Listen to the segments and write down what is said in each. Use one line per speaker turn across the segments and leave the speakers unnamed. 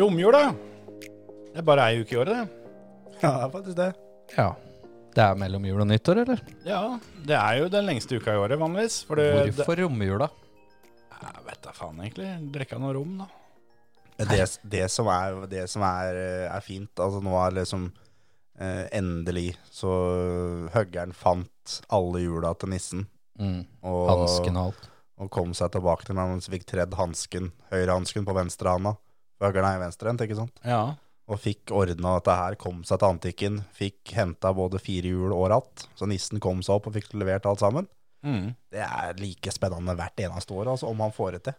Romjula. Det er bare ei uke i året, det.
Ja, det er faktisk det.
Ja. Det er mellom jul og nyttår, eller?
Ja, Det er jo den lengste uka i året, vanligvis. For det, Eh, det,
Hvorfor romjula?
jeg vet da faen, egentlig. Drikke noe rom, da.
Det, det som, er, det som er, eh, er fint, altså nå er liksom eh, endelig så høggeren fant alle hjula til nissen.
Mm.
Og,
Hansken og alt.
og kom seg tilbake til meg mens vi fikk tredd hansken, høyrehansken på venstre handa. Høggeren er i venstrehendt, ikke sant?
Ja.
Og fikk ordna dette her, kom seg til antikken, fikk henta både firehjul og ratt. Så nissen kom seg opp og fikk levert alt sammen.
Mm.
Det er like spennende hvert eneste år, altså, om han får det til.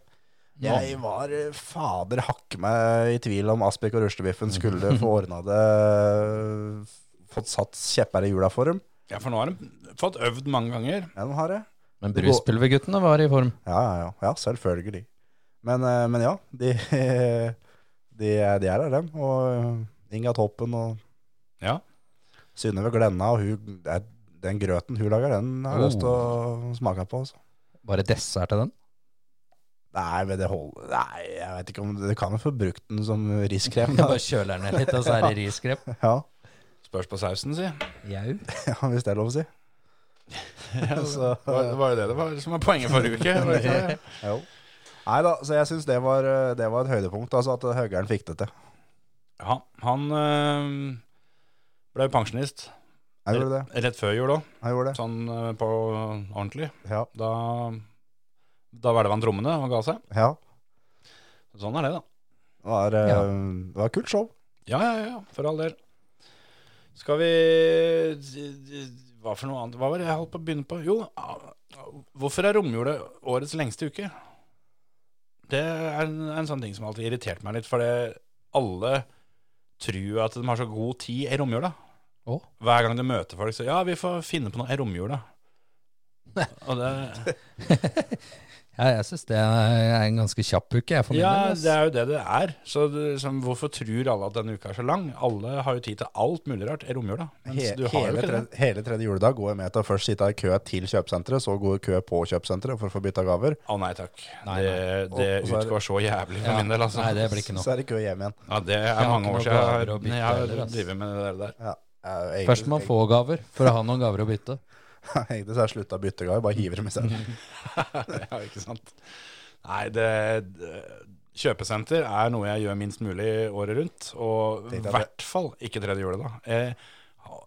Jeg var eh, fader hakke meg i tvil om Aspik og Ruslebiffen skulle få ordna det eh, Fått satt kjepper i hjula for dem.
ja, for nå har de fått øvd mange ganger.
Ja, de har det.
Men
det går-
bruspulverguttene var i form.
Ja, ja, ja. ja selvfølgelig. Men, eh, men ja, de, de, er- de er der, dem. Og eh, Inga Toppen og
Ja.
Synnøve Glenna. Og hun, det er- den grøten hun lager, den har jeg lyst til å smake på. Altså.
Bare dessert til den.
Nei, men det holder Nei, jeg vet ikke om Du kan jo få brukt den som riskrem. da.
Bare kjøler den ned litt, og så er det riskrep.
Ja,
Spørs på sausen, si.
Jau.
ja, hvis det er lov å si. Så-
Det var, det var jo det det var som var poenget forrige uke. var det ikke det?
Jo. Nei da, så jeg syns det, var, eh, det var et høydepunkt, altså at Høgern fikk det til.
Ja, han øh, ble jo pensjonist
Jeg gjorde det.
rett før jul òg,
Jeg gjorde det.
sånn øh, på ordentlig.
Ja.
Da, da hvelva han trommene og ga seg.
ja.
Sånn er det, da.
Det var, eh,
Ja.
det var et kult show.
Ja, ja, ja, for all del. Skal vi Hva for noe annet? Hva var det jeg holdt på å begynne på? Jo, hvorfor er romjula årets lengste uke? Det er en, en sånn ting som alltid irriterte meg litt, fordi alle tror at de har så god tid i romjula.
Å?
Hver gang de møter folk, så ja, vi får finne på noe i romjula. Og det,
Ja, jeg syns det er en ganske kjapp uke, jeg for min
ja,
del, ass.
det er jo det det er. Så det, som, hvorfor tror alle at denne uka er så lang? Alle har jo tid til alt mulig rart i romjula. Mens
He
du har jo
hele,
ikke det.
tredje, hele tredje juledag går jeg med til å først sitte i kø til kjøpesenteret, så går kø på kjøpesenteret for å få bytta gaver.
Å nei takk.
Nei,
Det,
Og- og
det
så er det-
utgår så jævlig for
Ja.
min del, altså.
Nei, det blir ikke noe.
Så er det kø hjem igjen.
Ja, det er
Jeg har
mange
ikke
år
noe
siden jeg
gaver å
har-
bytte
jeg har
heller, altså. ass.
drevet med det der.
Ja. Eh, egentlig-
Først må man få gaver for å ha noen gaver å bytte.
Egentlig så har jeg slutta å bytte gaver, bare hiver dem i stedet.
ja, ikke sant? Nei, det, det Kjøpesenter er noe jeg gjør minst mulig året rundt, og
Tenkte
i
jeg det.
hvert fall ikke tredje juledag. Eh,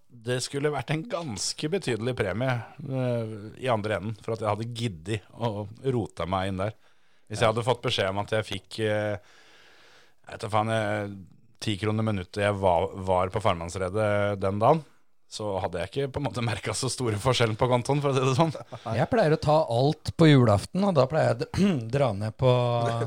det skulle vært en ganske betydelig premie eh, i andre enden for at jeg hadde giddet å rote meg inn der. Hvis jeg hadde fått beskjed om at jeg fikk eh, Jeg vet da faen, eh, ti kroner minuttet jeg var, var på farmannsredet eh, den dagen, så hadde jeg ikke på en måte merka så store forskjellen på kontoen, for å si det sånn.
Jeg pleier å ta alt på julaften, og da pleier jeg å dra ned på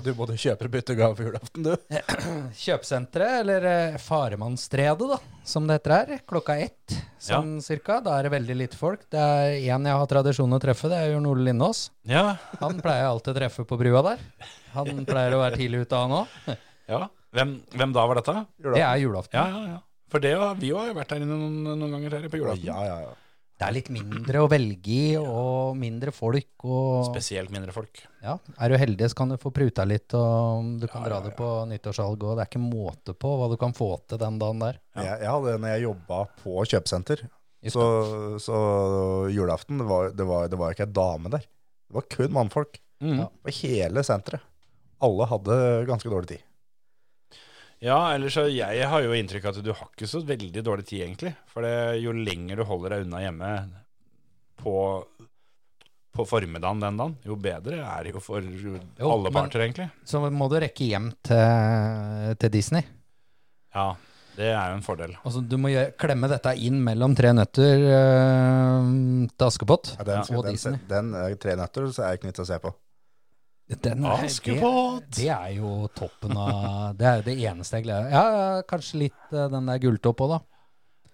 Du både kjøper og bytter gaver på julaften, du.
kjøpesenteret, eller eh, Faremannsstredet, da, som det heter her, klokka ett sånn cirka. Da er det veldig lite folk. Det er én jeg har tradisjon å treffe, det er Jørn Ole Lindås.
Ja,
Han pleier jeg alltid å treffe på brua der. Han pleier å være tidlig ute, han òg.
Ja, hvem, hvem da var dette?
Det er julaften.
Ja, ja, ja. For det, har- vi har jo vært der inne noen, noen ganger her på
Å,
julaften.
Ja, ja, ja.
Det er litt mindre å velge i, og mindre folk. Og
Spesielt mindre folk.
ja, er du heldig, så kan du få pruta litt, og du kan
Ja,
dra
ja,
det på nyttårssalg. Og det er ikke måte på hva du kan få til den dagen der.
Jeg, jeg hadde det når jeg jobba på kjøpesenter.
Just
Så, så julaften, det var, det, var, det var ikke ei dame der. Det var kun mannfolk
Mm.
Ja.
på hele senteret. Alle hadde ganske dårlig tid.
Ja, ellers så jeg har jo inntrykk av at du har ikke så veldig dårlig tid egentlig. For det, jo lenger du holder deg unna hjemme på, på formiddagen den dagen, jo bedre er det jo for alle
men-
parter egentlig.
Så må du rekke hjem til, til Disney.
Ja, det er jo en fordel.
Altså, du må gjøre, klemme dette inn mellom tre nøtter eh, til Askepott.
Ja, den,
Ja,
skal-
og
den,
Disney.
den, eh, tre nøtter så er jeg ikke nødt til å se på.
Den er-
Askepott!
Det, det er jo toppen av Det er jo det eneste jeg gleder meg Ja, ja, kanskje litt eh, den der gulltopp òg, da.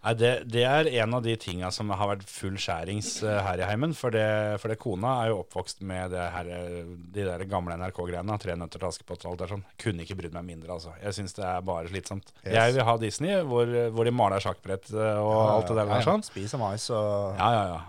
Nei, det, det er en av de tinga som har vært full skjærings eh, her i heimen. For det, for det kona er jo oppvokst med det her, eh, de der gamle NRK-greiene. Tre nøtter til Askepott og alt det der sånn. Kunne ikke brydd meg mindre, altså. Jeg syns det er bare slitsomt.
Yes.
Jeg vil ha Disney, hvor, hvor de maler sjakkbrett eh, og
Ja,
alt det der
ja, ja.
sånn.
Spiser mais og
Ja, ja, ja.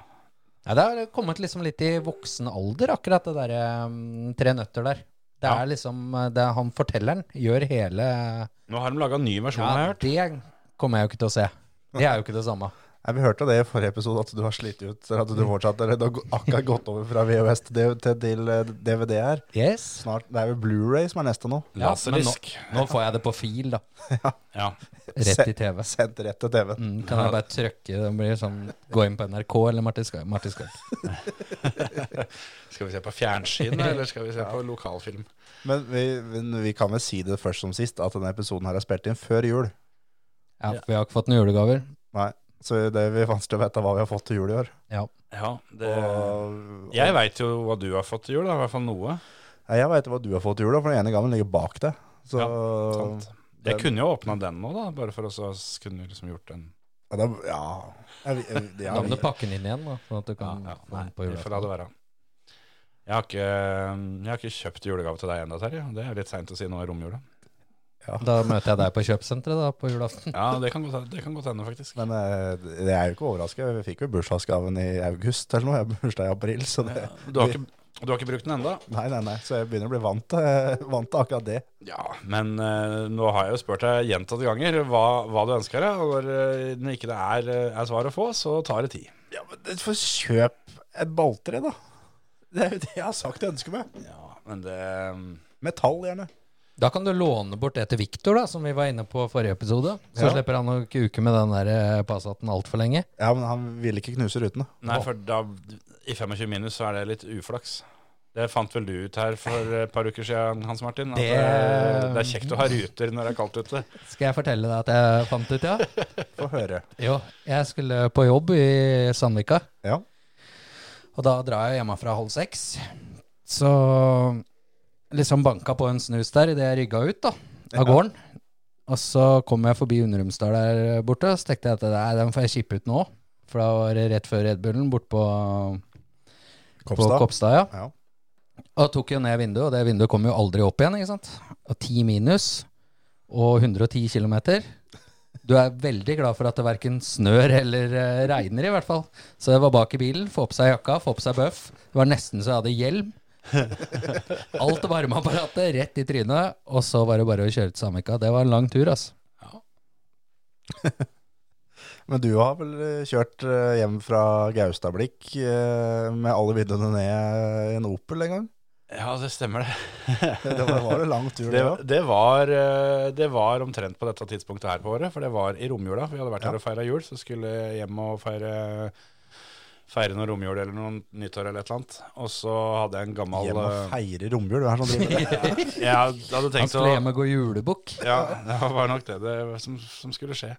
Nei, det har kommet liksom litt i voksen alder, akkurat det derre um, eh, Tre nøtter der. Det
Ja.
er liksom eh, det er han fortelleren gjør hele
Nå har de laga en ny versjon, har jeg
Ja,
hørt.
det kommer jeg jo ikke til å se. Det er jo ikke det samme.
Nei, vi hørte det i forrige episode, at du har slitt ut. At
Mm.
du fortsatt, eller du har akkurat gått over fra VHS til D- til til, eh, DVD her.
Yes.
Snart, det er vel Blu-ray som er neste nå.
Ja, men nå,
Laserdisk.
nå får jeg det på fil, da.
Ja.
Rett i TV.
Sendt rett til TV-en.
Mm, kan jeg bare trykke det blir sånn, Gå inn på NRK eller Martin Skar- Martin Skar.
Skal vi se på fjernsyn, eller skal vi se på lokalfilm?
Men vi, men vi kan vel si det først som sist, at denne episoden her er spilt inn før jul.
Ja, for vi har ikke fått noen julegaver.
Nei, så det blir vanskelig å vite hva vi har fått til jul i år.
Ja.
Ja, det...
Og, og,
Jeg veit jo hva du har fått til jul, da. I hvert fall noe.
Nei, jeg veit hva du har fått til jul, da, for den ene gangen ligger bak deg. Så
sant. Jeg kunne jo åpna den nå, da, bare for å s- kunne liksom gjort en
Ja, da, ja. Jeg, jeg, jeg,
Da må du pakke den inn igjen, da, sånn at du kan
Ja,
få
nei,
den på
vi får la det
julaften.
være. Jeg har, ikke, jeg har ikke kjøpt julegave til deg ennå, Terje. Det er litt seint å si nå i romjula.
Da møter jeg deg på kjøpesenteret da, på julaften.
Ja, det kan godt det kan godt hende, faktisk.
Men eh, det er jo ikke overrasket. Vi fikk jo bursdagsgaven i august eller noe. Jeg har bursdag i april, så det
Ja, eh, du, har ikke, du har ikke brukt den ennå?
Nei, nei, nei. Så jeg begynner å bli vant til, vant til akkurat det.
Ja, men eh, nå har jeg jo spurt deg gjentatte ganger hva, hva du ønsker deg. Og når, eh, når ikke det er, eh, er svar å få, så tar det tid.
Ja, men Få kjøp et balltre, da. Det er jo det jeg har sagt jeg ønsker meg.
Ja, men det
Metall, gjerne.
Da kan du låne bort det til Viktor, da, som vi var inne på forrige episode. Så
Ja.
slipper han å kuke med den der eh, Passaten altfor lenge.
Ja, men han ville ikke knuse rutene.
Nei, for da, i 25 minus så er det litt uflaks. Det fant vel du ut her for et par uker siden, Hans Martin. At det,
Det-
det er kjekt å ha ruter når det er kaldt ute.
Skal jeg fortelle deg at jeg fant ut, ja?
Få høre.
Jo, jeg skulle på jobb i Sandvika.
Ja.
Og da drar jeg hjemmefra halv seks. Så liksom banka på en snus der idet jeg rygga ut da,
Ja.
av gården. Og så kom jeg forbi Underumsdal der borte, og så tenkte jeg at nei, den får jeg kippe ut nå. For da var det rett før Red Bullen bort på Kopstad. På
Kopstad.
Kopstad ja.
Ja.
Og tok jo ned vinduet, og det vinduet kom jo aldri opp igjen. ikke sant? Og 10 minus og 110 km. Du er veldig glad for at det verken snør eller eh, regner, i hvert fall. Så det var bak i bilen. Få på seg jakka, få på seg bøff. Det var nesten så jeg hadde hjelm. Alt varmeapparatet rett i trynet, og så var det bare å kjøre til Samvika. Det var en lang tur, altså.
Men du har vel eh, kjørt eh, hjem fra Gaustablikk eh, med alle vinduene ned i en Opel en gang?
Ja, det stemmer det.
Det var, var en lang tur, det
Det,
òg.
det, var, eh, det var omtrent på dette tidspunktet her på året, for det var i romjula. Vi hadde vært
Ja.
her og feira jul, så skulle jeg hjem og feire, feire noe romjul eller noe nyttår eller et eller annet. Og så hadde jeg en gammel
Hjem og
eh,
feire romjul, du er sånn driver med det.
Jeg hadde
Han
tenkt å
skulle hjem og gå julebukk.
Ja, det var nok det, det som, som skulle skje.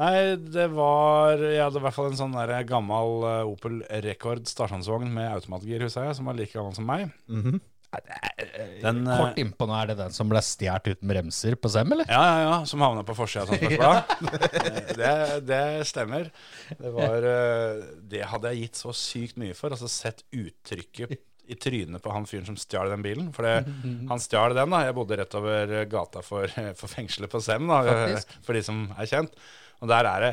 Nei, det var Jeg hadde i hvert fall en sånn der gammel eh, Opel Rekord stasjonsvogn med automatgir, husker jeg, som var like gammel som meg.
Mhm.
Den, eh,
Kort innpå nå, er det den som ble stjålet uten bremser på Sem, eller?
Ja, ja, ja, som havna på forsida av Transportbladet. det, det stemmer. Det, var, eh, det hadde jeg gitt så sykt mye for. Altså sett uttrykket i trynet på han fyren som stjal den bilen. For det,
Mhm.
han stjal den, da. Jeg bodde rett over eh, gata for, for fengselet på Sem, da, eh,
Faktisk.
for de som er kjent. Og der er det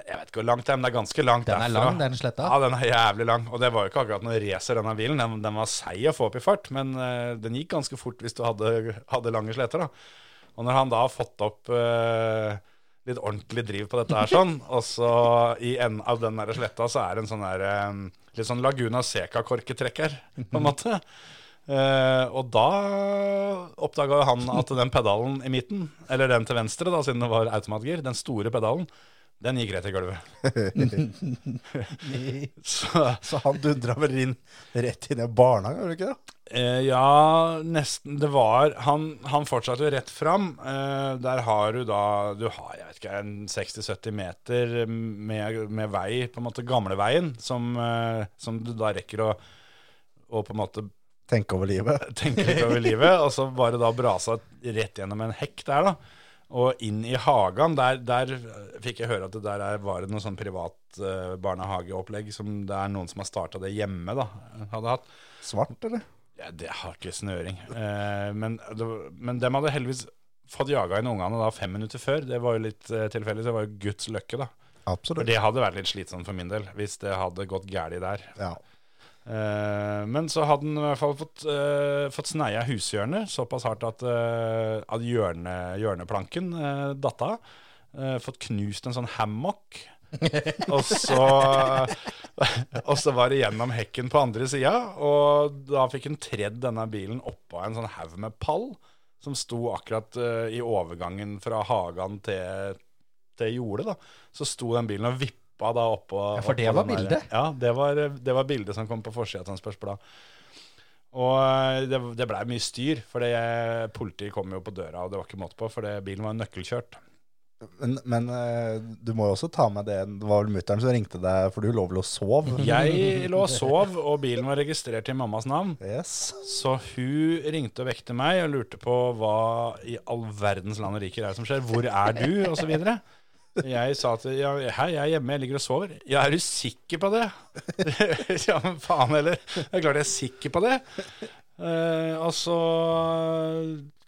Jeg vet ikke hvor langt det er, men det er ganske langt
Den er
derfra.
lang, den sletta.
Ja, den er jævlig lang. Og det var jo ikke akkurat noen racer, denne bilen. Den, den var seig å få opp i fart, men eh, den gikk ganske fort hvis du hadde, hadde lange sleter. da. Og når han da har fått opp eh, litt ordentlig driv på dette her sånn, og så i enden av den der sletta så er det en sånn der eh, litt sånn Laguna Seca-korketrekker, på en måte. Eh, og da oppdaga han at den pedalen i midten, eller den til venstre, da, siden det var automatgir, den store pedalen, den gikk rett i gulvet. Så
Så han dundra vel inn rett inn i barnehagen, gjorde du ikke det?
Eh, ja, nesten. Det var Han, han fortsatte jo rett fram. Eh, der har du da Du har jeg vet ikke, en 60-70 meter med, med vei, på en måte gamleveien, som, eh, som du da rekker å, å på en måte
Tenke over livet.
tenke litt over livet, og så bare da brasa rett gjennom en hekk der, da. Og inn i hagen. Der, der fikk jeg høre at det der er, var det noe sånn privat eh, barnehageopplegg som det er noen som har starta det hjemme, da. Hadde hatt.
Svart, eller?
Ja, det har ikke snøring. Eh, men, det, var- men dem hadde heldigvis fått jaga inn ungene da fem minutter før. Det var jo litt eh, tilfeldig. Det var jo Guds løkke, da. For
Absolutt.
det hadde vært litt slitsomt for min del hvis det hadde gått galt der.
Ja.
Eh, men så hadde han i hvert fall fått, eh, fått sneia hushjørnet såpass hardt at, eh, at hjørne, hjørneplanken eh, datt av. Eh, fått knust en sånn hammock. og, så, og så var det gjennom hekken på andre sida, og da fikk han tredd denne bilen oppå en sånn haug med pall som sto akkurat eh, i overgangen fra hagen til, til jordet. da. Så sto den bilen og vippa da oppå.
Ja, for det
oppå
var
den der-
bildet.
Ja, det var, det var bildet som kom på forsida av Tønsbergs Blad. Og eh, det, det blei mye styr, for det- eh, politiet kom jo på døra, og det var ikke måte på, for det, bilen var nøkkelkjørt.
Men, men eh, du må jo også ta med det Det var vel mutter'n som ringte deg, for du lå vel og sov?
Jeg lå og sov, og bilen var registrert i mammas navn.
Yes.
Så hun ringte og vekte meg og lurte på hva i all verdens land og rike er det som skjer. Hvor er du? Og så videre. Jeg sa til ja, Hei, jeg er hjemme, jeg ligger og sover. Ja, er du sikker på det? ja, men faen heller. Det er klart jeg er sikker på det. Eh, og så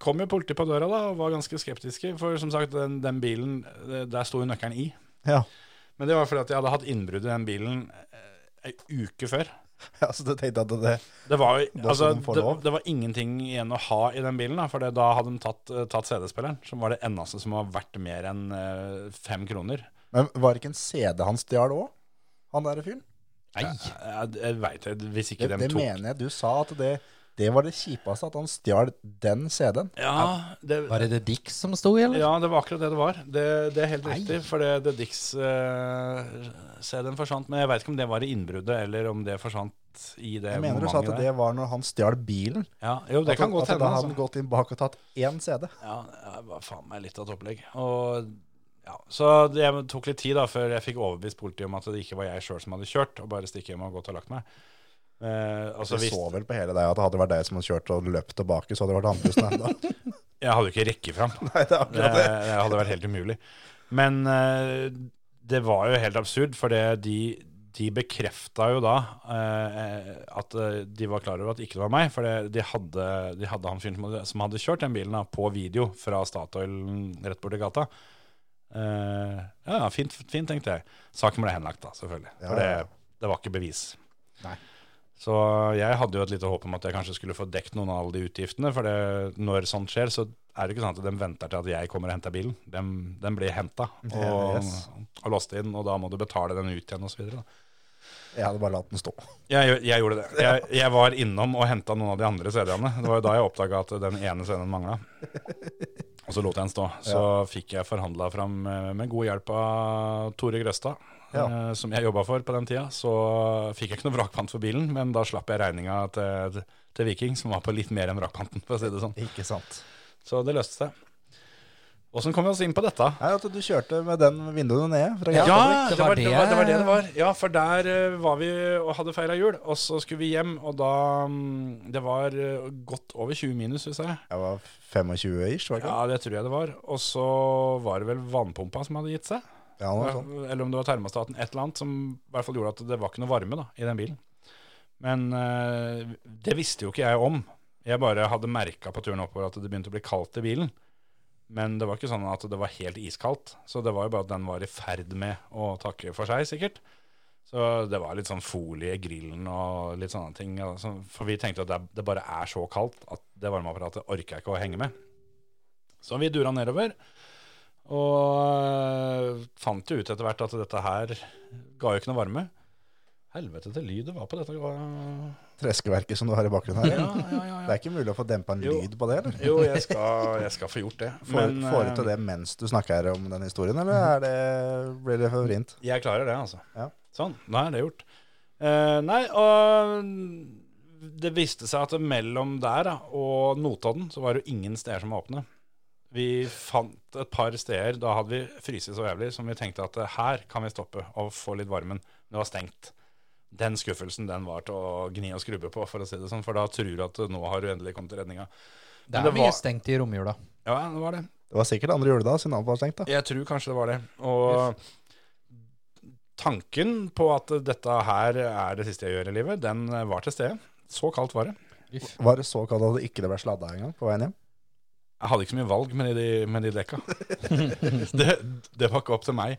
kom jo politiet på døra da, og var ganske skeptiske. For som sagt, den, den bilen, eh, der sto jo nøkkelen i.
Ja.
Men det var fordi at jeg hadde hatt innbrudd i den bilen eh, ei uke før.
ja, så du tenkte at det
Det var, jo-
Da
altså,
skal de få
det,
lov.
det var ingenting igjen å ha i den bilen, da, for det- da hadde de tatt, eh, tatt CD-spilleren, som var det eneste som var verdt mer enn eh, fem kroner.
Men var det ikke en CD han stjal òg? Han derre fyren?
Nei. Jeg, jeg veit Eh, det, hvis ikke
Det,
de
det
tok
mener jeg du sa, at det, det var det kjipeste, at han stjal den CD-en.
ja det,
Var det The Dick som sto i, eller?
ja, det var akkurat det det var. Det, det er helt riktig, for det, det Dix eh, CD-en forsvant. Men jeg veit ikke om det var i innbruddet, eller om det forsvant i det
Jeg mener du sa at
momentet der.
det var når han stjal bilen.
Ja, jo, det
At-
kan godt
at
hende.
Da hadde
altså.
han gått inn bak og tatt én CD.
Ja, det var faen meg litt av et opplegg. Og, ja. Så det tok litt tid da før jeg fikk overbevist politiet om at det ikke var jeg sjøl som hadde kjørt, og bare stikke hjem og gått og lagt meg. Eh, og så
Du
visste-
så vel på hele deg at det hadde vært deg som hadde kjørt og løpt tilbake, så hadde det vært andpusten ennå.
Jeg hadde jo ikke rekke fram.
Nei, det er
Det,
akkurat det.
det hadde vært helt umulig. Men eh, det var jo helt absurd, for det, de, de bekrefta jo da eh, at eh, de var klar over at ikke det var meg. For det, de, hadde, de hadde han fyren som, hadde- som hadde kjørt den bilen, da, på video fra Statoil rett borti gata. Eh, ja, fint, fint, tenkte jeg. Saken ble henlagt, da, selvfølgelig.
Ja,
For det,
ja, ja.
det var ikke bevis.
Nei.
Så jeg hadde jo et lite håp om at jeg kanskje skulle få dekt noen av alle de utgiftene. For det, når sånt skjer, så er det ikke sånn at de venter til at jeg kommer og henter bilen. Den, den blir henta og,
Yes.
og låst inn, og da må du betale den ut igjen osv.
Jeg hadde bare latt den stå.
Jeg, jeg gjorde det. Jeg, jeg var innom og henta noen av de andre CD-ene. Det var jo da jeg oppdaga at den ene CD-en mangla. Og så lot jeg den stå. Så fikk jeg forhandla fram eh, med god hjelp av Tore Grøstad,
Ja.
eh, som jeg jobba for på den tida. Så fikk jeg ikke noe vrakpant for bilen, men da slapp jeg regninga til, til Viking, som var på litt mer enn vrakpanten, for å si det sånn.
Ikke sant.
Så det løste seg. Åssen kom vi oss inn på dette?
Nei, at du kjørte med den vinduene nede. Fra
Ja,
Gatablikk.
det, var, det, var, det var det det var. Ja, for der eh, var vi og hadde feira jul, og så skulle vi hjem, og da mm, Det var eh, godt over 20 minus, syns jeg.
Jeg var 25 ish, var det ikke?
Ja, det tror jeg det var. Og så var det vel vannpumpa som hadde gitt seg.
Ja, sånn noe sånt.
Eller om det var termostaten. Et eller annet som i hvert fall gjorde at det var ikke noe varme da, i den bilen. Men eh, det visste jo ikke jeg om. Jeg bare hadde merka på turen oppover at det begynte å bli kaldt i bilen. Men det var ikke sånn at det var helt iskaldt. Så det var jo bare at den var i ferd med å takke for seg, sikkert. Så det var litt sånn folie i grillen og litt sånne ting. Altså, for vi tenkte at det, det bare er så kaldt at det varmeapparatet orker jeg ikke å henge med. Så vi dura nedover. Og øh, fant jo ut etter hvert at dette her ga jo ikke noe varme. Helvete til lyd det var på dette. Ja,
Treskeverket som du har i bakgrunnen her.
ja, ja,
Det er ikke mulig å få dempa en
Jo.
lyd på det, eller?
Jo, jeg skal, jeg skal få gjort det.
Får,
Men,
får du
øh,
til det mens du snakker om den historien, eller er det, blir det for vrient?
Jeg klarer det, altså.
Ja.
Sånn, da er det gjort. Eh, nei, og det viste seg at mellom der da, og Notodden så var det jo ingen steder som var åpne. Vi fant et par steder, da hadde vi fryst så jævlig, som vi tenkte at eh, her kan vi stoppe og få litt varmen. Det var stengt. Den skuffelsen den var til å gni og skrubbe på, for å si det sånn, for da tror du at eh, nå har du endelig kommet til redninga.
Det
Men
er
det
mye
var-
stengt i romjula.
Ja, det var det.
Det var sikkert andre juledag siden alt var stengt, da.
Jeg tror kanskje det var det. Og tanken på at dette her er det siste jeg gjør i livet, den var til stede. Så kaldt var det.
Var det så kaldt at det ikke ble sladda engang på veien hjem?
Jeg hadde ikke så mye valg med de, med de dekka. det, det var ikke opp til meg.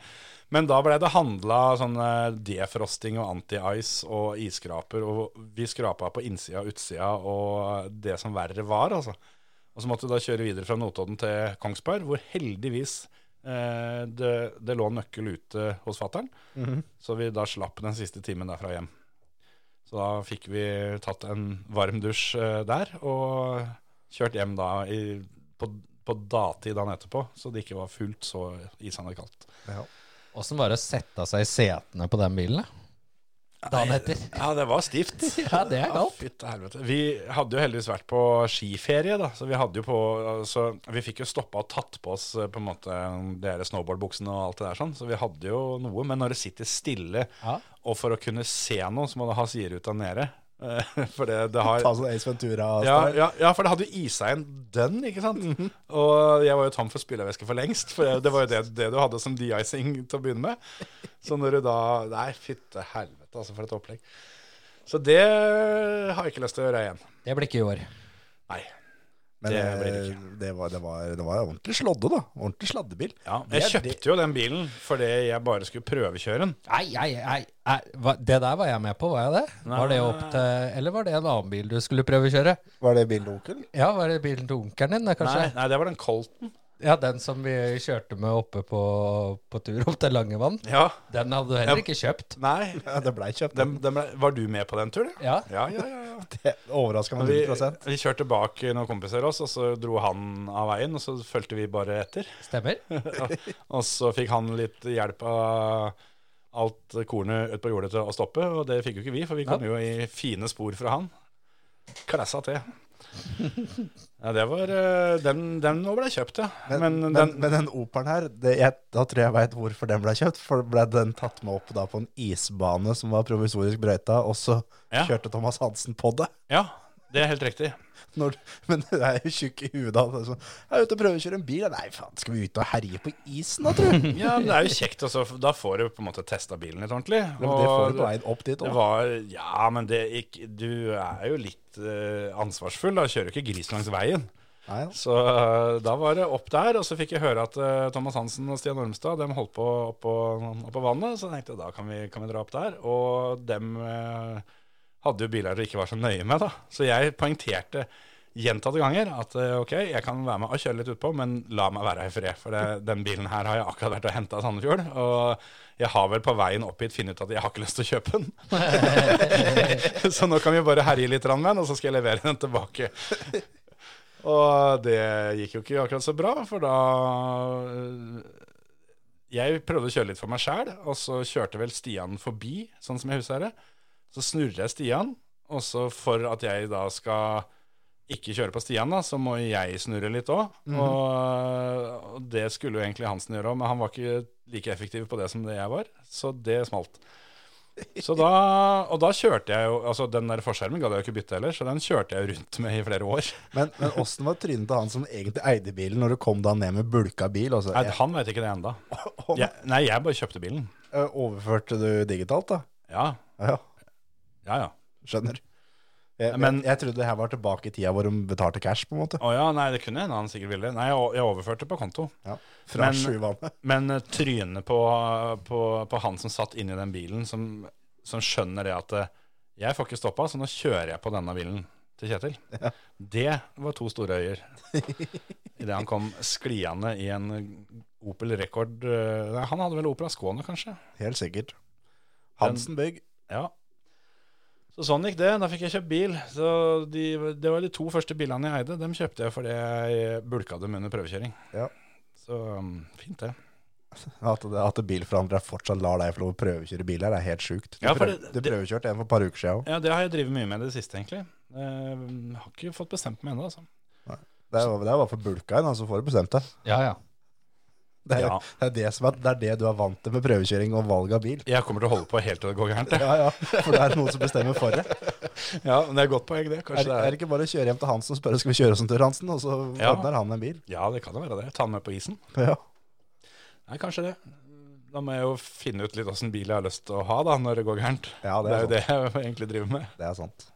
Men da ble det handla sånne defrosting og anti-ice og isskraper. Og vi skrapa på innsida og utsida og det som verre var, altså. Og så måtte vi da kjøre videre fra Notodden til Kongsberg, hvor heldigvis eh, det, det lå en nøkkel ute hos fattern. Så vi da slapp den siste timen derfra hjem. Så da fikk vi tatt en varm dusj eh, der, og kjørt hjem da i, på, på datid dagen etterpå, så det ikke var fullt så isende kaldt.
Ja.
Åssen var det å sette seg i setene på den bilen? da? Dagen etter.
Ja, det var stivt.
Ja, det er galt.
Fytte helvete. Vi hadde jo heldigvis vært på skiferie, da, så vi hadde jo på Så vi fikk jo stoppa og tatt på oss eh, på en måte de her snowboardbuksene og alt det der sånn, så vi hadde jo noe. Men når det sitter stille,
Ja.
og for å kunne se noe, så må du ha sideruta nede. Eh, For det, det har
Ta sånn Ace Ventura.
ja, ja, ja, for det hadde jo isa en dønn, ikke sant? Og jeg var jo tom for spillervæske for lengst, for det var jo det, det du hadde som de-icing til å begynne med. Så når du da Nei, fytte helvete, altså, for et opplegg. Så det har jeg ikke lyst til å gjøre igjen.
Det blir ikke i år.
Nei.
Men
det
eh,
blir det ikke.
det var, det, var, det var ordentlig slådde, da. Ordentlig sladdebil.
Ja,
Det er
jeg
det-
kjøpte jo den bilen fordi jeg bare skulle prøvekjøre den.
Nei, nei, nei. nei. Hva- Det der var jeg med på, var jeg det? Var det opp til, Eller var det en annen bil du skulle prøvekjøre?
Var det bilen til onkel?
Ja, var det bilen til onkelen din, det, kanskje?
Nei, nei, det var den Colten.
Ja, den som vi kjørte med oppe på, på tur opp til Langevann.
Ja.
Den hadde du heller ikke kjøpt.
Nei.
Ja, det blei kjøpt.
Den, den ble, var du med på den turen?
Ja.
Ja, ja, ja. ja.
Det overraska
Og
meg
Vi,
100
vi kjørte bak noen kompiser av oss, og så dro han av veien, og så fulgte vi bare etter.
Stemmer.
og, og så fikk han litt hjelp av alt kornet ut på jordet til å stoppe, og det fikk jo ikke vi, for vi kom jo i fine spor fra han. Klassa til. Ja, det var eh, Den, den nå ble kjøpt, ja. Men,
Men, men,
den,
den, men den operen her, det, jeg, da tror jeg veit hvorfor den ble kjøpt. For ble den tatt med opp da på en isbane som var provisorisk brøyta, og så
Ja.
kjørte Thomas Hansen på det.
Ja, det er helt riktig.
Når, men du er jo tjukk i huet da. det er sånn, Jeg er ute og prøver å kjøre en bil. Ja, Nei, faen, skal vi ut og herje på isen da, tror du?
Ja, men Det er jo kjekt, også, for da får du på en måte testa bilen litt ordentlig.
Ja, men det får du på veien opp dit
Det
òg.
var, ja, men det, gikk- du er jo litt eh, ansvarsfull. Da kjører du ikke gris langs veien. Så eh, da var det opp der, og så fikk jeg høre at eh, Thomas Hansen og Stian Ormstad de holdt på oppå, oppå vannet. Så tenkte jeg da kan vi, kan vi dra opp der. Og dem eh, hadde jo biler du ikke var så nøye med, da. Så jeg poengterte gjentatte ganger at eh, ok, jeg kan være med og kjøre litt utpå, men la meg være her i fred. For det, den bilen her har jeg akkurat vært og henta i Sandefjord. Og jeg har vel på veien opp hit funnet ut at jeg har ikke lyst til å kjøpe den. så nå kan vi bare herje litt grann med den, og så skal jeg levere den tilbake. Og det gikk jo ikke akkurat så bra, for da øh, Jeg prøvde å kjøre litt for meg sjæl, og så kjørte vel Stian forbi, sånn som jeg husker det. Så snurrer jeg Stian, og så for at jeg da skal ikke kjøre på Stian, da, så må jeg snurre litt òg. og, og det skulle jo egentlig Hansen gjøre òg, men han var ikke like effektiv på det som det jeg var, så det smalt. Så da, og da kjørte jeg jo altså Den der forskjermen gadd jeg jo ikke bytte heller, så den kjørte jeg jo rundt med i flere år.
Men, men åssen var trynet til han som egentlig eide bilen, når du kom da ned med bulka bil? Altså,
Nei, han vet ikke det enda.
jeg,
Jeg, nei, jeg bare kjøpte bilen.
Ø, Overførte du digitalt, da?
Ja,
Ja,
ja, ja.
skjønner. Jeg,
Men-
jeg, jeg trodde det her var tilbake i tida hvor de betalte cash, på en måte.
Å ja, nei, det kunne hende han sikkert ville. Nei, jeg o- jeg overførte på konto.
Ja, fra
Men-
sjuvannet.
Men eh, trynet på, på, på han som satt inni den bilen, som, som skjønner det at eh, jeg får ikke stoppa, så nå kjører jeg på denne bilen til Kjetil. Det var to store øyer. Idet han kom skliende i en Opel Rekord eh, Nei, han hadde vel Opel Ascona, kanskje?
Helt sikkert. Hansen Bygg.
Ja. Så sånn gikk det. Da fikk jeg kjøpt bil. Så de, det var de to første bilene jeg eide. Dem kjøpte jeg fordi jeg bulka dem under prøvekjøring.
Ja.
Så um, fint, det.
At, det- at bilforhandlere fortsatt lar deg få lov å prøvekjøre biler, det er helt sjukt. Du,
Ja, for
prøv,
det-
du
det-
prøvekjørte en for et par uker siden òg.
Ja, Det har jeg drevet mye med i det siste, egentlig. Eh, har ikke fått bestemt meg ennå, altså.
Det er det er bare for bulka en, altså, får du bestemt deg.
Ja, ja.
Det er,
Ja.
det, er det, som er, det er det du er vant til med prøvekjøring og valg av bil.
Jeg kommer til å holde på helt til det går gærent. jeg.
Ja, ja, for det er noen som bestemmer for deg.
Ja, men Det er godt poeng, det.
Er,
Kanskje
det- er
det er
det ikke bare å kjøre hjem til Hansen og spørre skal vi kjøre oss en tur, Hansen, og så
Ja.
ordner han en bil?
Ja, det kan jo være det. Ta den med på isen.
Ja.
Nei, kanskje det. Da må jeg jo finne ut litt åssen bil jeg har lyst til å ha da, når det går gærent.
Ja,
Det er jo det jeg egentlig driver med.
Det er sant.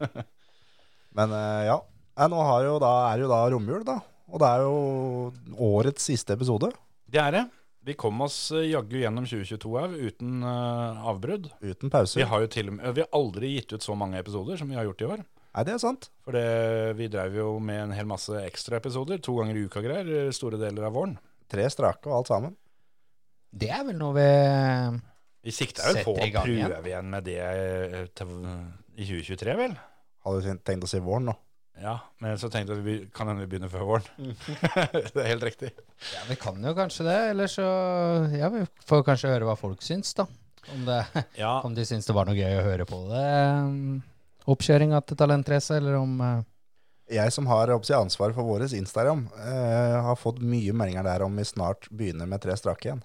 Men eh, ja. Nei, nå har jo da, er det jo da romjul, da. Og det er jo årets siste episode
Det er det. Vi kom oss eh, jaggu gjennom 2022 her uten eh, avbrudd.
uten pause.
Vi har jo til og med, vi har aldri gitt ut så mange episoder som vi har gjort i år.
Nei, det er sant.
For det, vi drev jo med en hel masse ekstraepisoder, to ganger i uka greier, eh, store deler av våren.
Tre strake og alt sammen.
Det er vel noe vi
Vi sikta jo på
Setter i
å
gang igjen.
prøve igjen med det eh, til, i 2023, vel?
Hadde vi tenkt å si våren nå.
Ja, men så tenkte jeg at vi kan hende vi begynner før våren.
Mm.
det er helt riktig.
Ja, Vi kan jo kanskje det, eller så ja, Vi får kanskje høre hva folk syns, da. Om, det,
Ja,
om de syns det var noe gøy å høre på det. um, Oppkjøringa til Talentrace, eller om uh,
Jeg som har oppsi ansvar for våres Instagram, eh, har fått mye meldinger der om vi snart begynner med tre strake igjen.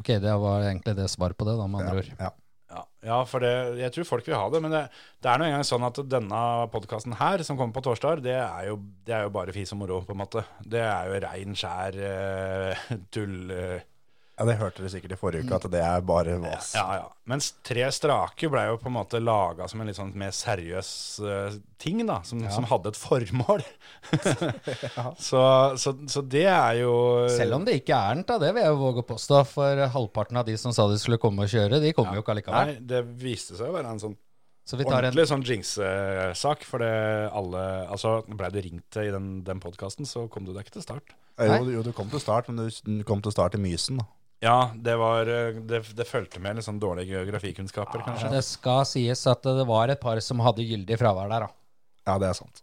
Ok, det var egentlig det svaret på det, da, med andre ord.
Ja.
Ja, ja for det, jeg tror folk vil ha det, men det, det er nå engang sånn at denne podkasten her, som kommer på torsdag, det er, jo, det er jo bare fis og moro, på en måte. Det er jo rein, skjær eh, tull. eh,
Ja, Det hørte dere sikkert i forrige uke, at det er bare vas.
ja, ja. Mens Tre strake ble jo på en måte laga som en litt sånn mer seriøs eh, ting, da, som, som hadde et formål. så, så, så det er jo
Selv om det ikke er den, da, det vil jeg jo våge å påstå. For halvparten av de som sa de skulle komme og kjøre, de kommer jo ikke allikevel.
Nei, det viste seg å være en sånn
Så vi tar en
ordentlig sånn jinx-sak, for det alle Altså, blei du ringt til i den, den podkasten, så kom du deg ikke til start.
Eh, Jo, jo, du kom til start, men du, du kom til start i Mysen. da.
Ja, det var eh, Det, det fulgte med litt sånn dårlige geografikunnskaper, kanskje.
Det skal sies at det var et par som hadde gyldig fravær der, da.
Ja, det er sant.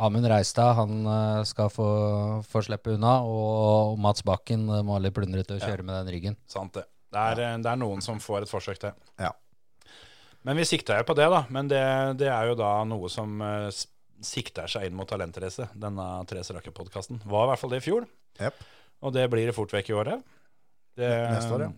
Amund Reistad han eh, skal få, få slippe unna, og Mats Bakken eh, må ha litt plundrete å kjøre med den ryggen.
Sant det. Det er, eh, det er noen som får et forsøk til.
Ja.
Men vi sikta jo på det, da. Men det, det er jo da noe som eh, s- sikter seg inn mot talentrace, denne Therese Rakke-podkasten. Var i hvert fall det i fjor,
Jep.
og det blir det fort vekk i året. Det,
Neste år, ja.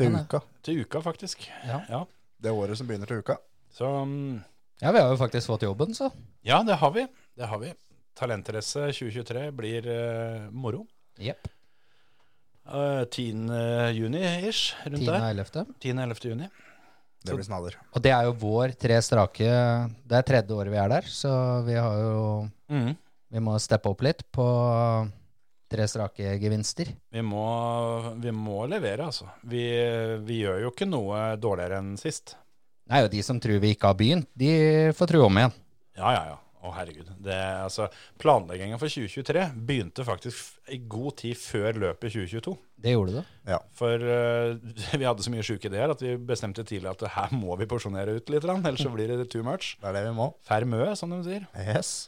Til
Men, eh,
uka.
Til uka, faktisk.
Ja.
ja.
Det er året som begynner til uka.
Så mm,
Ja, vi har jo faktisk fått jobben, så.
Ja, det har vi. Det har vi. Talentrace 2023 blir eh, moro.
Jepp.
Eh, 10. juni-ish, rundt
10.
der.
og 11.
10. 11. juni.
Det blir snadder.
Og det er jo vår tre strake Det er tredje året vi er der, så vi har jo
Mm.
Vi må steppe opp litt på tre strake gevinster.
Vi, må, vi må levere, altså. Vi, vi gjør jo ikke noe dårligere enn sist.
Nei, og de som tror vi ikke har begynt, de får tro om igjen.
Ja, ja, ja. Å, herregud. Det, altså, planleggingen for 2023 begynte faktisk f- i god tid før løpet i 2022.
Det gjorde det.
For eh, vi hadde så mye sjuke ideer at vi bestemte tidlig at her må vi porsjonere ut litt, ellers så blir det too much.
Det er det vi må.
Fær mø, som de sier.
Yes.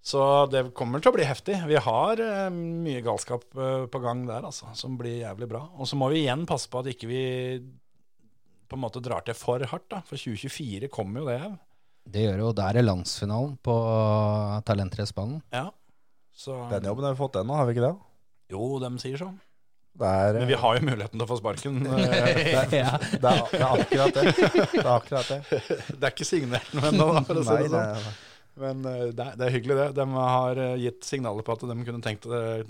Så det kommer til å bli heftig. Vi har eh, mye galskap eh, på gang der, altså, som blir jævlig bra. Og så må vi igjen passe på at ikke vi på en måte drar til for hardt, da. For 2024 kommer jo det òg.
Det gjør jo Der er landsfinalen på Talentracebanen.
Ja. Så
Den jobben har vi fått ennå, har vi ikke det?
Jo, de sier sånn.
Det er,
Men
eh,
vi har jo muligheten til å få sparken. eh,
ja.
det, er, det er akkurat det. Det er akkurat det.
Det er ikke signert noe ennå, da, for å si
Nei,
det sånn.
det-
Men eh, det er, det er hyggelig, det. De har eh, gitt signaler på at de kunne tenkt, eh,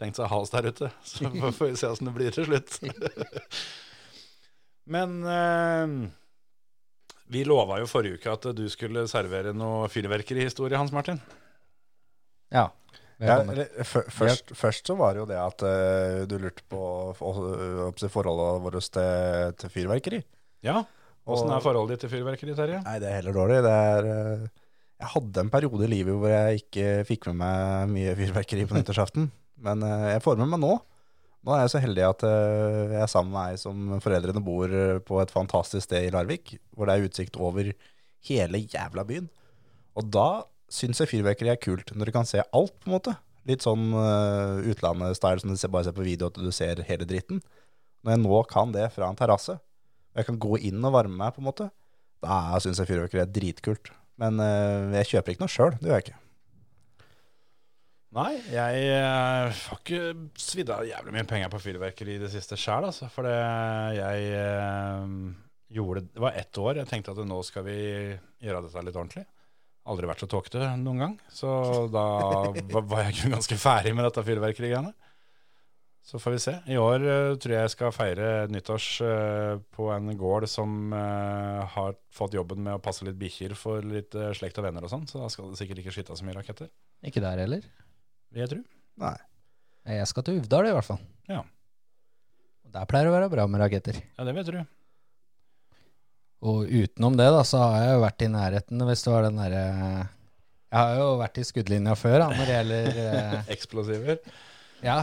tenkt seg å ha oss der ute. Så får får vi se åssen det blir til slutt. Men eh, vi lova jo forrige uke at du skulle servere noe fyrverkerihistorie, Hans Martin.
ja.
Ja,
Velkommen.
eller, fø- først, først så var det jo det at eh, du lurte på for- oppsi forholdet vårt til, til fyrverkeri.
Ja, Åssen
Og-
er forholdet ditt til fyrverkeri, Terje?
Nei, det er heller dårlig. Det er, eh, jeg hadde en periode i livet hvor jeg ikke fikk med meg mye fyrverkeri på nyttårsaften. Men eh, jeg får med meg nå. Nå er jeg så heldig at eh, jeg er sammen med ei som foreldrene bor eh, på et fantastisk sted i Larvik, hvor det er utsikt over hele jævla byen. Og da syns jeg fyrverkeri er kult, når du kan se alt, på en måte. Litt sånn eh, utlandet-style som du ser- bare ser på video, at du ser hele dritten. Når jeg nå kan det fra en terrasse, og jeg kan gå inn og varme meg, på en måte, da syns jeg fyrverkeri er dritkult. Men eh, jeg kjøper ikke noe sjøl, det gjør jeg ikke.
Nei, jeg eh, har ikke svidd av jævlig mye penger på fyrverkeri i det siste sjæl, altså. For det jeg eh, gjorde Det var ett år jeg tenkte at nå skal vi gjøre dette litt ordentlig. Aldri vært så tåkete noen gang. Så da va- var jeg egentlig ganske ferdig med dette fyrverkerigreiene. Så får vi se. I år eh, tror jeg jeg skal feire nyttårs eh, på en gård som eh, har fått jobben med å passe litt bikkjer for litt eh, slekt og venner og sånn, så da skal det sikkert ikke skytes så mye raketter.
Ikke der heller.
vil jeg tro.
Nei.
Jeg skal til Uvdal i hvert fall.
Ja.
Og Der pleier det å være bra med raketter.
Ja, det vil jeg tro.
Og utenom det, da, så har jeg jo vært i nærheten, hvis det var den derre Jeg har jo vært i skuddlinja før, da, når det gjelder eh,
Eksplosiver.
Ja.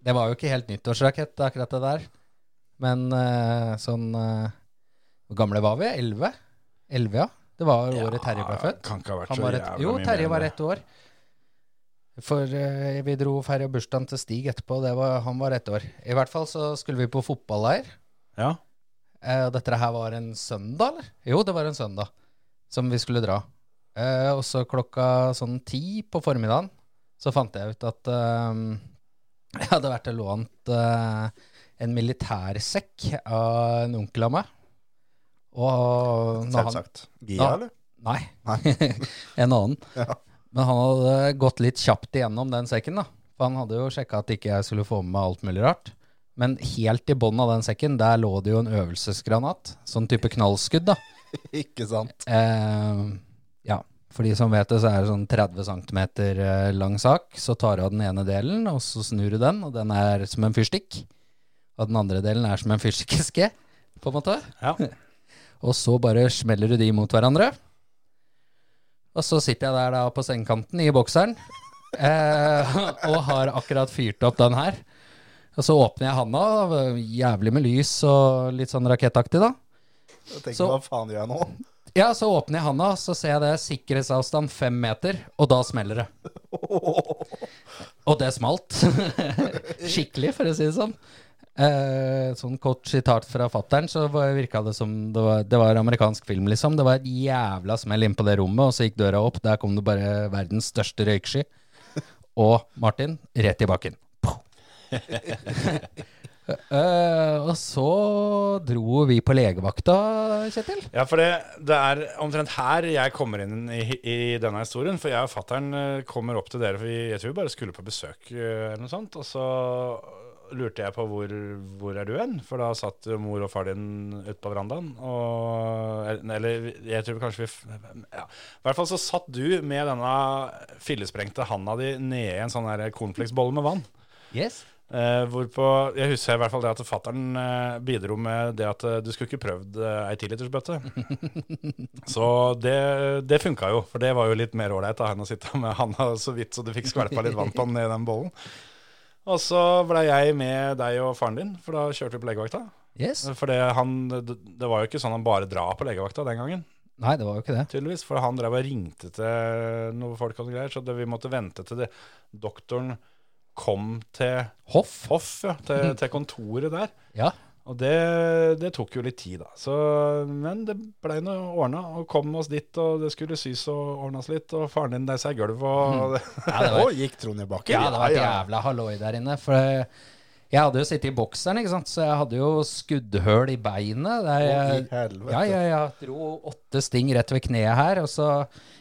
Det var jo ikke helt nyttårsrakett, akkurat det der. Men eh, sånn eh, Hvor gamle var vi? Elleve? Elleve, ja. Det var året Terje ble født.
Kan ikke ha vært
Han
så
var
jævla
et,
mye
jo,
mer
Terje
enn
var
det.
ett år. For eh, vi dro feira bursdagen til Stig etterpå, det var, han var ett år. I hvert fall så skulle vi på fotballeir.
Ja.
Eh, og dette her var en søndag, eller? Jo, det var en søndag som vi skulle dra. Eh, og så klokka sånn ti på formiddagen så fant jeg ut at eh, jeg hadde vært og lånt eh, en militærsekk av en onkel av meg. Og når han,
Selvsagt. Gia,
Nå-
eller?
Nei.
Nei.
en annen.
Ja.
Men han hadde gått litt kjapt igjennom den sekken, da. For han hadde jo sjekka at ikke jeg skulle få med meg alt mulig rart. Men helt i bånn av den sekken, der lå det jo en øvelsesgranat. Sånn type knallskudd, da.
Ikke sant?
Eh, ja. For de som vet det, så er det sånn 30 cm lang sak. Så tar du av den ene delen, og så snur du den, og den er som en fyrstikk. Og den andre delen er som en fyrstikkeske, på en måte.
Ja.
Og så bare smeller du de mot hverandre. Og så sitter jeg der da på sengekanten i bokseren eh, og har akkurat fyrt opp den her. Og så åpner jeg handa, jævlig med lys og litt sånn rakettaktig, da.
Jeg tenker,
Så-
hva faen gjør jeg nå?
Ja, så åpner jeg handa, så ser jeg det er sikkerhetsavstand fem meter, og da smeller det. Og det smalt. Skikkelig, for å si det sånn. Eh, sånn kort sitat fra fattern, så var- virka det som det var, det var amerikansk film, liksom. Det var et jævla smell inn på det rommet, og så gikk døra opp. Der kom det bare verdens største røyksky. Og Martin rett i bakken. Pow! Eh, og så dro vi på legevakta, Kjetil.
Ja, for det, det er omtrent her jeg kommer inn i, i denne historien. For jeg og fattern eh, kommer opp til dere, for vi, jeg tror vi bare skulle på besøk eh, eller noe sånt. Og så lurte jeg på hvor, hvor er du hen? For da satt jo mor og far din ute på verandaen. Og, eh, eller jeg tror kanskje vi f- ja. I hvert fall så satt du med denne fillesprengte handa di nede i en sånn der cornflakesbolle med vann.
Yes.
Eh, hvorpå, Jeg husker i hvert fall det at fattern eh, bidro med det at eh, du skulle ikke prøvd eh, ei tilitersbøtte. så det, det funka jo, for det var jo litt mer ålreit av henne å sitte med handa så vidt så du fikk skvalpa litt vann på den i den bollen. Og så blei jeg med deg og faren din, for da kjørte vi på legevakta.
yes.
For det, han, det, det var jo ikke sånn han bare drar på legevakta den gangen,
Nei, det var jo ikke det.
tydeligvis. For han drev og ringte til noen folk og greier, så det, vi måtte vente til det. doktoren kom til
Hoff?
Hoff, ja,
Mm.
til, til kontoret der.
Ja.
Og det, det tok jo litt tid, da. Så, men det blei nå ordna, og kom oss dit, og det skulle sys og ordnes litt, og faren din deisa i gulvet, og
Mm. Ja, det
Å,
var,
gikk Trond i bakken?
ja, det var et jævla halloi der inne. For eh, jeg hadde jo sittet i bokseren, ikke sant? så jeg hadde jo skuddhull i beinet. Der jeg,
Å, i helvete.
Eh, ja, ja, ja. Dro åtte sting rett ved kneet her, og så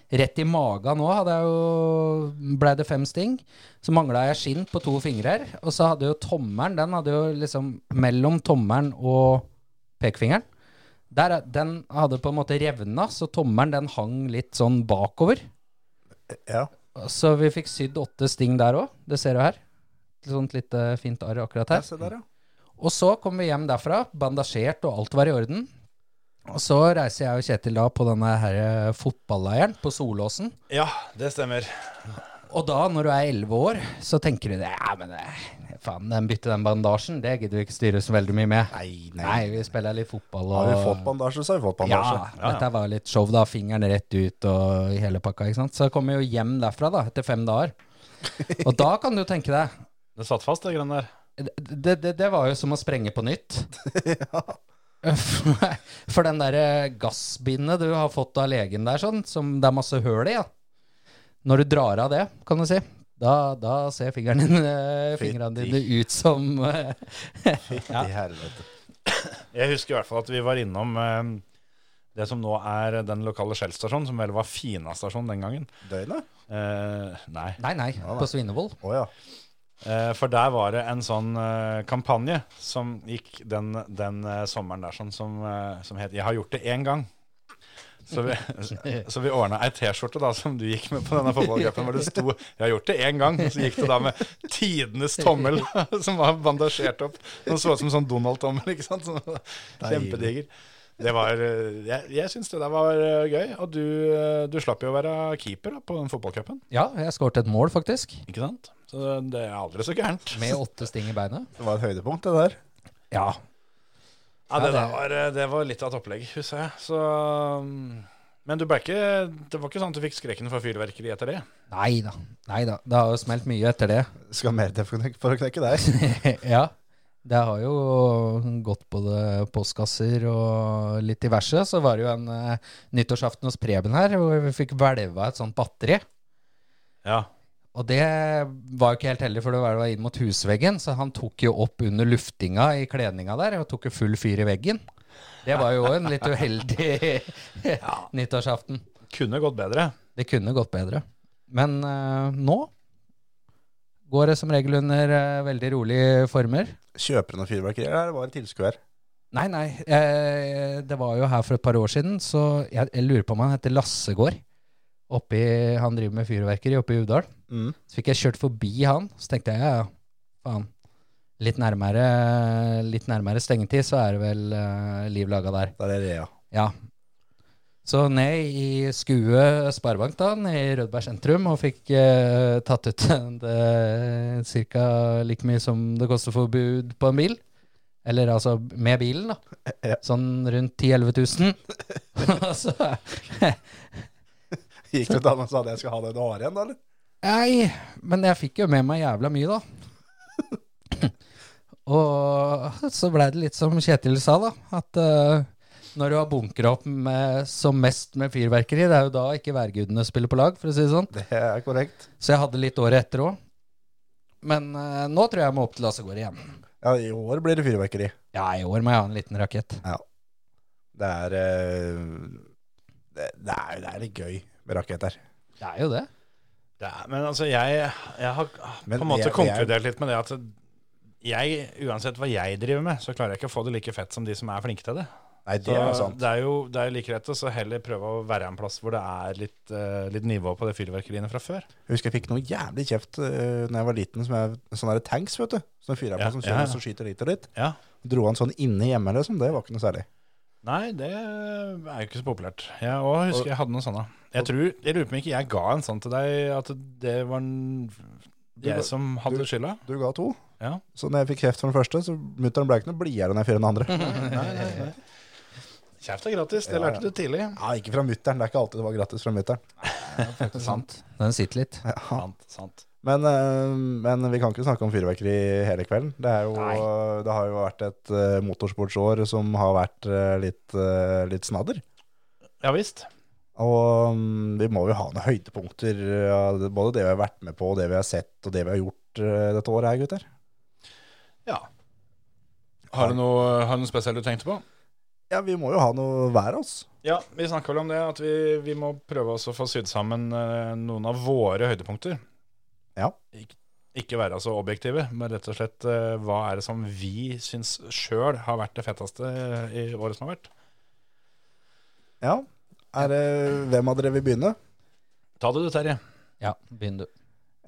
rett i magen nå hadde jeg jo Blei det fem sting. Så mangla jeg skinn på to fingrer, og så hadde jo tommelen, den hadde jo liksom mellom tommelen og pekefingeren. Der, er- den hadde på en måte revna, så tommelen den hang litt sånn bakover.
Ja.
Så vi fikk sydd åtte sting der òg. Det ser du her. Et sånt lite fint arr akkurat
Ja,
her.
se der, ja.
Og så kom vi hjem derfra, bandasjert og alt var i orden. Og så reiser jeg og Kjetil da på denne her eh, fotballeiren på Solåsen.
Ja, det stemmer.
Og da, når du er elleve år, så tenker du det, ja, men eh, faen, den bytte den bandasjen, det gidder vi ikke styre så veldig mye med.
Nei, nei.
Nei, vi spiller litt fotball og
Har vi fått bandasje, så har vi fått bandasje.
Ja, dette var litt show, da. Fingeren rett ut og i hele pakka. ikke sant? Så jeg kom jo hjem derfra da, etter fem dager. Og da kan du tenke deg
Det satt fast, det greiene der.
det, det, det var jo som å sprenge på nytt. For- For den derre gassbindet du har fått av legen der, sånn, som det er masse høl i, ja. når du drar av det, kan du si, da, da ser fingeren din, eh, fingrene dine ut som eh,
I helvete.
Jeg husker i hvert fall at vi var innom eh, det som nå er den lokale Shell-stasjonen, som vel var Fina-stasjon den gangen.
Døgnet?
Eh, nei.
Nei, nei, på Svinevold.
Å ja.
Eh, for der var det en sånn eh, kampanje som gikk den, den eh, sommeren der, sånn, som, eh, som het 'Jeg har gjort det én gang'. Så vi, så vi ordna ei T-skjorte da som du gikk med på denne fotballcupen, hvor det sto 'Jeg har gjort det én gang', og så gikk det da med tidenes tommel som var bandasjert opp. Den så ut som sånn Donald-tommel, ikke sant. Som var Kjempediger. Det var, eh, jeg jeg syns det der var eh, gøy. Og du, eh, du slapp jo å være keeper da, på den fotballcupen,
Ja, jeg skåret et mål, faktisk.
ikke sant? Så det er aldri så gærent.
Med åtte sting i beinet.
Det var et høydepunkt, det der.
Ja.
Ja, det,
Ja, det-
der var, eh, det var litt av et opplegg, husker jeg. Så, um, men du ble ikke, det var ikke sånn at du fikk skrekken for fyrverkeri etter det?
Nei da. Nei da. Det har jo smelt mye etter det.
Skal mer til for å knekke- for å knekke deg.
ja. Det har jo gått både postkasser og litt diverse. Så var det jo en eh, nyttårsaften hos Preben her, hvor vi fikk hvelva et sånt batteri.
Ja.
Og det var jo ikke helt heldig, for det var det var inn mot husveggen. Så han tok jo opp under luftinga i kledninga der, og tok jo full fyr i veggen. Det var jo en litt uheldig nyttårsaften.
Kunne gått bedre.
Det kunne gått bedre. Men eh, nå går det som regel under eh, veldig rolige former.
Kjøper du noe fyrverkeri, eller var det en tilskuer?
Nei, nei. eh, det var jo her for et par år siden, så jeg, jeg lurer på om han heter Lassegård. Oppi, han driver med fyrverkeri oppe i Uvdal.
Mm.
Så fikk jeg kjørt forbi han, så tenkte jeg ja, ja, faen. Litt nærmere, litt nærmere stengetid, så er det vel eh, liv laga der.
Der er Rea.
Ja. Så ned i Skue Sparebank da, ned i Rødberg sentrum, og fikk eh, tatt ut det, ca. like mye som det koster for bud på en bil. Eller altså med bilen, da.
Ja.
Sånn rundt 10 000-11 000. Og så
Gikk du til han og sa at jeg skal ha det du har igjen, da, eller?
Nei, men jeg fikk jo med meg jævla mye, da. Og så blei det litt som Kjetil sa, da. At eh, når du har bunkra opp med, som mest med fyrverkeri, det er jo da ikke værgudene spiller på lag, for å si det sånn.
Det er korrekt.
Så jeg hadde litt året etter òg. Men eh, nå tror jeg jeg må opp til Lassegård igjen.
Ja, i år blir det fyrverkeri.
Ja, i år må jeg ha en liten rakett.
Det er eh, det, det er, det er litt gøy med raketter.
Det er jo det.
Det er- men altså, jeg, jeg har
Men
på en måte
jeg- jeg-
konkludert litt med det at jeg, uansett hva jeg driver med, så klarer jeg ikke å få det like fett som de som er flinke til det.
Nei,
Så
det er sant.
det er jo det er jo like rett å så heller prøve å være en plass hvor det er litt, eh, litt nivå på det fyrverkeriene fra før.
Jeg husker jeg fikk noe jævlig kjeft uh, når jeg var liten, som jeg, sånne der tanks, vet du. Som fyrer jeg på
Ja,
som
ja,
kjører,
ja.
som skyter litt og litt.
Ja.
Dro han sånn inne hjemme, liksom. Det var ikke noe særlig.
Nei, det er jo ikke så populært. Jeg også husker jeg hadde noen sånne. Jeg, tror, jeg lurer på om ikke jeg ga en sånn til deg, at det var en,
ga-
jeg som hadde
du-
skylda.
Du ga to.
Ja.
Så når jeg fikk kjeft for den første, så mutter'n ble ikke noe blidere enn jeg fyrer den andre.
Kjeft er gratis, det
Ja, ja.
lærte du tidlig.
Ja, ikke fra mutter'n. Det er ikke alltid det var gratis fra mutter'n.
Faktisk sant. Den sitter litt.
Ja.
Sant, sant.
Men, eh, men vi kan ikke snakke om fyrverkeri hele kvelden. Det, er jo,
Nei.
det har jo vært et eh, motorsportsår som har vært eh, litt, eh, litt snadder.
Ja visst.
Og mm, vi må jo ha noen høydepunkter av det- både det vi har vært med på, og det vi har sett, og det vi har gjort eh, dette året her, gutter.
Ja. Har du noe, har du noe spesielt du tenkte på?
Ja, vi må jo ha noe hver oss.
Ja, vi snakka vel om det, at vi, vi må prøve oss å få sydd sammen eh, noen av våre høydepunkter.
Ja.
Ik ikke være så objektive, men rett og slett eh, hva er det som vi syns sjøl har vært det fetteste eh, i året som har vært?
Ja. Er det, hvem av dere vil begynne?
Ta det du, Terje.
Ja, begynn du.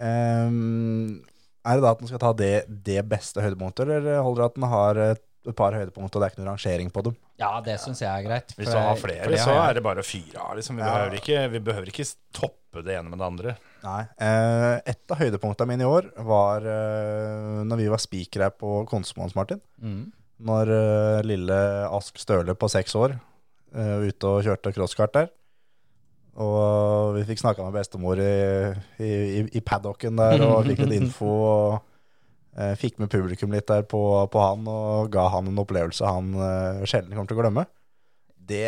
Ehm, er det da at den skal ta det, det beste høydepunktet, eller holder det at den har et, et par høydepunkter, og det er ikke noen rangering på dem?
Ja, det syns jeg er greit.
Hvis
for
du har
jeg- for
flere,
det
så
har jeg.
er det bare å fyre av. Liksom. Vi,
Ja.
behøver ikke, vi behøver ikke toppe det ene med det andre.
Nei. Eh, et av høydepunktene mine i år var uh, når vi var spikere her på Konsumhånds, Martin.
mm.
Når eh, lille Ask Støle på seks år eh, var ute og kjørte crosskart der. Og vi fikk snakka med bestemor i, i, i, i paddocken der og fikk litt info. og eh, Fikk med publikum litt der på, på han og ga han en opplevelse han eh, sjelden kommer til å glemme. Det,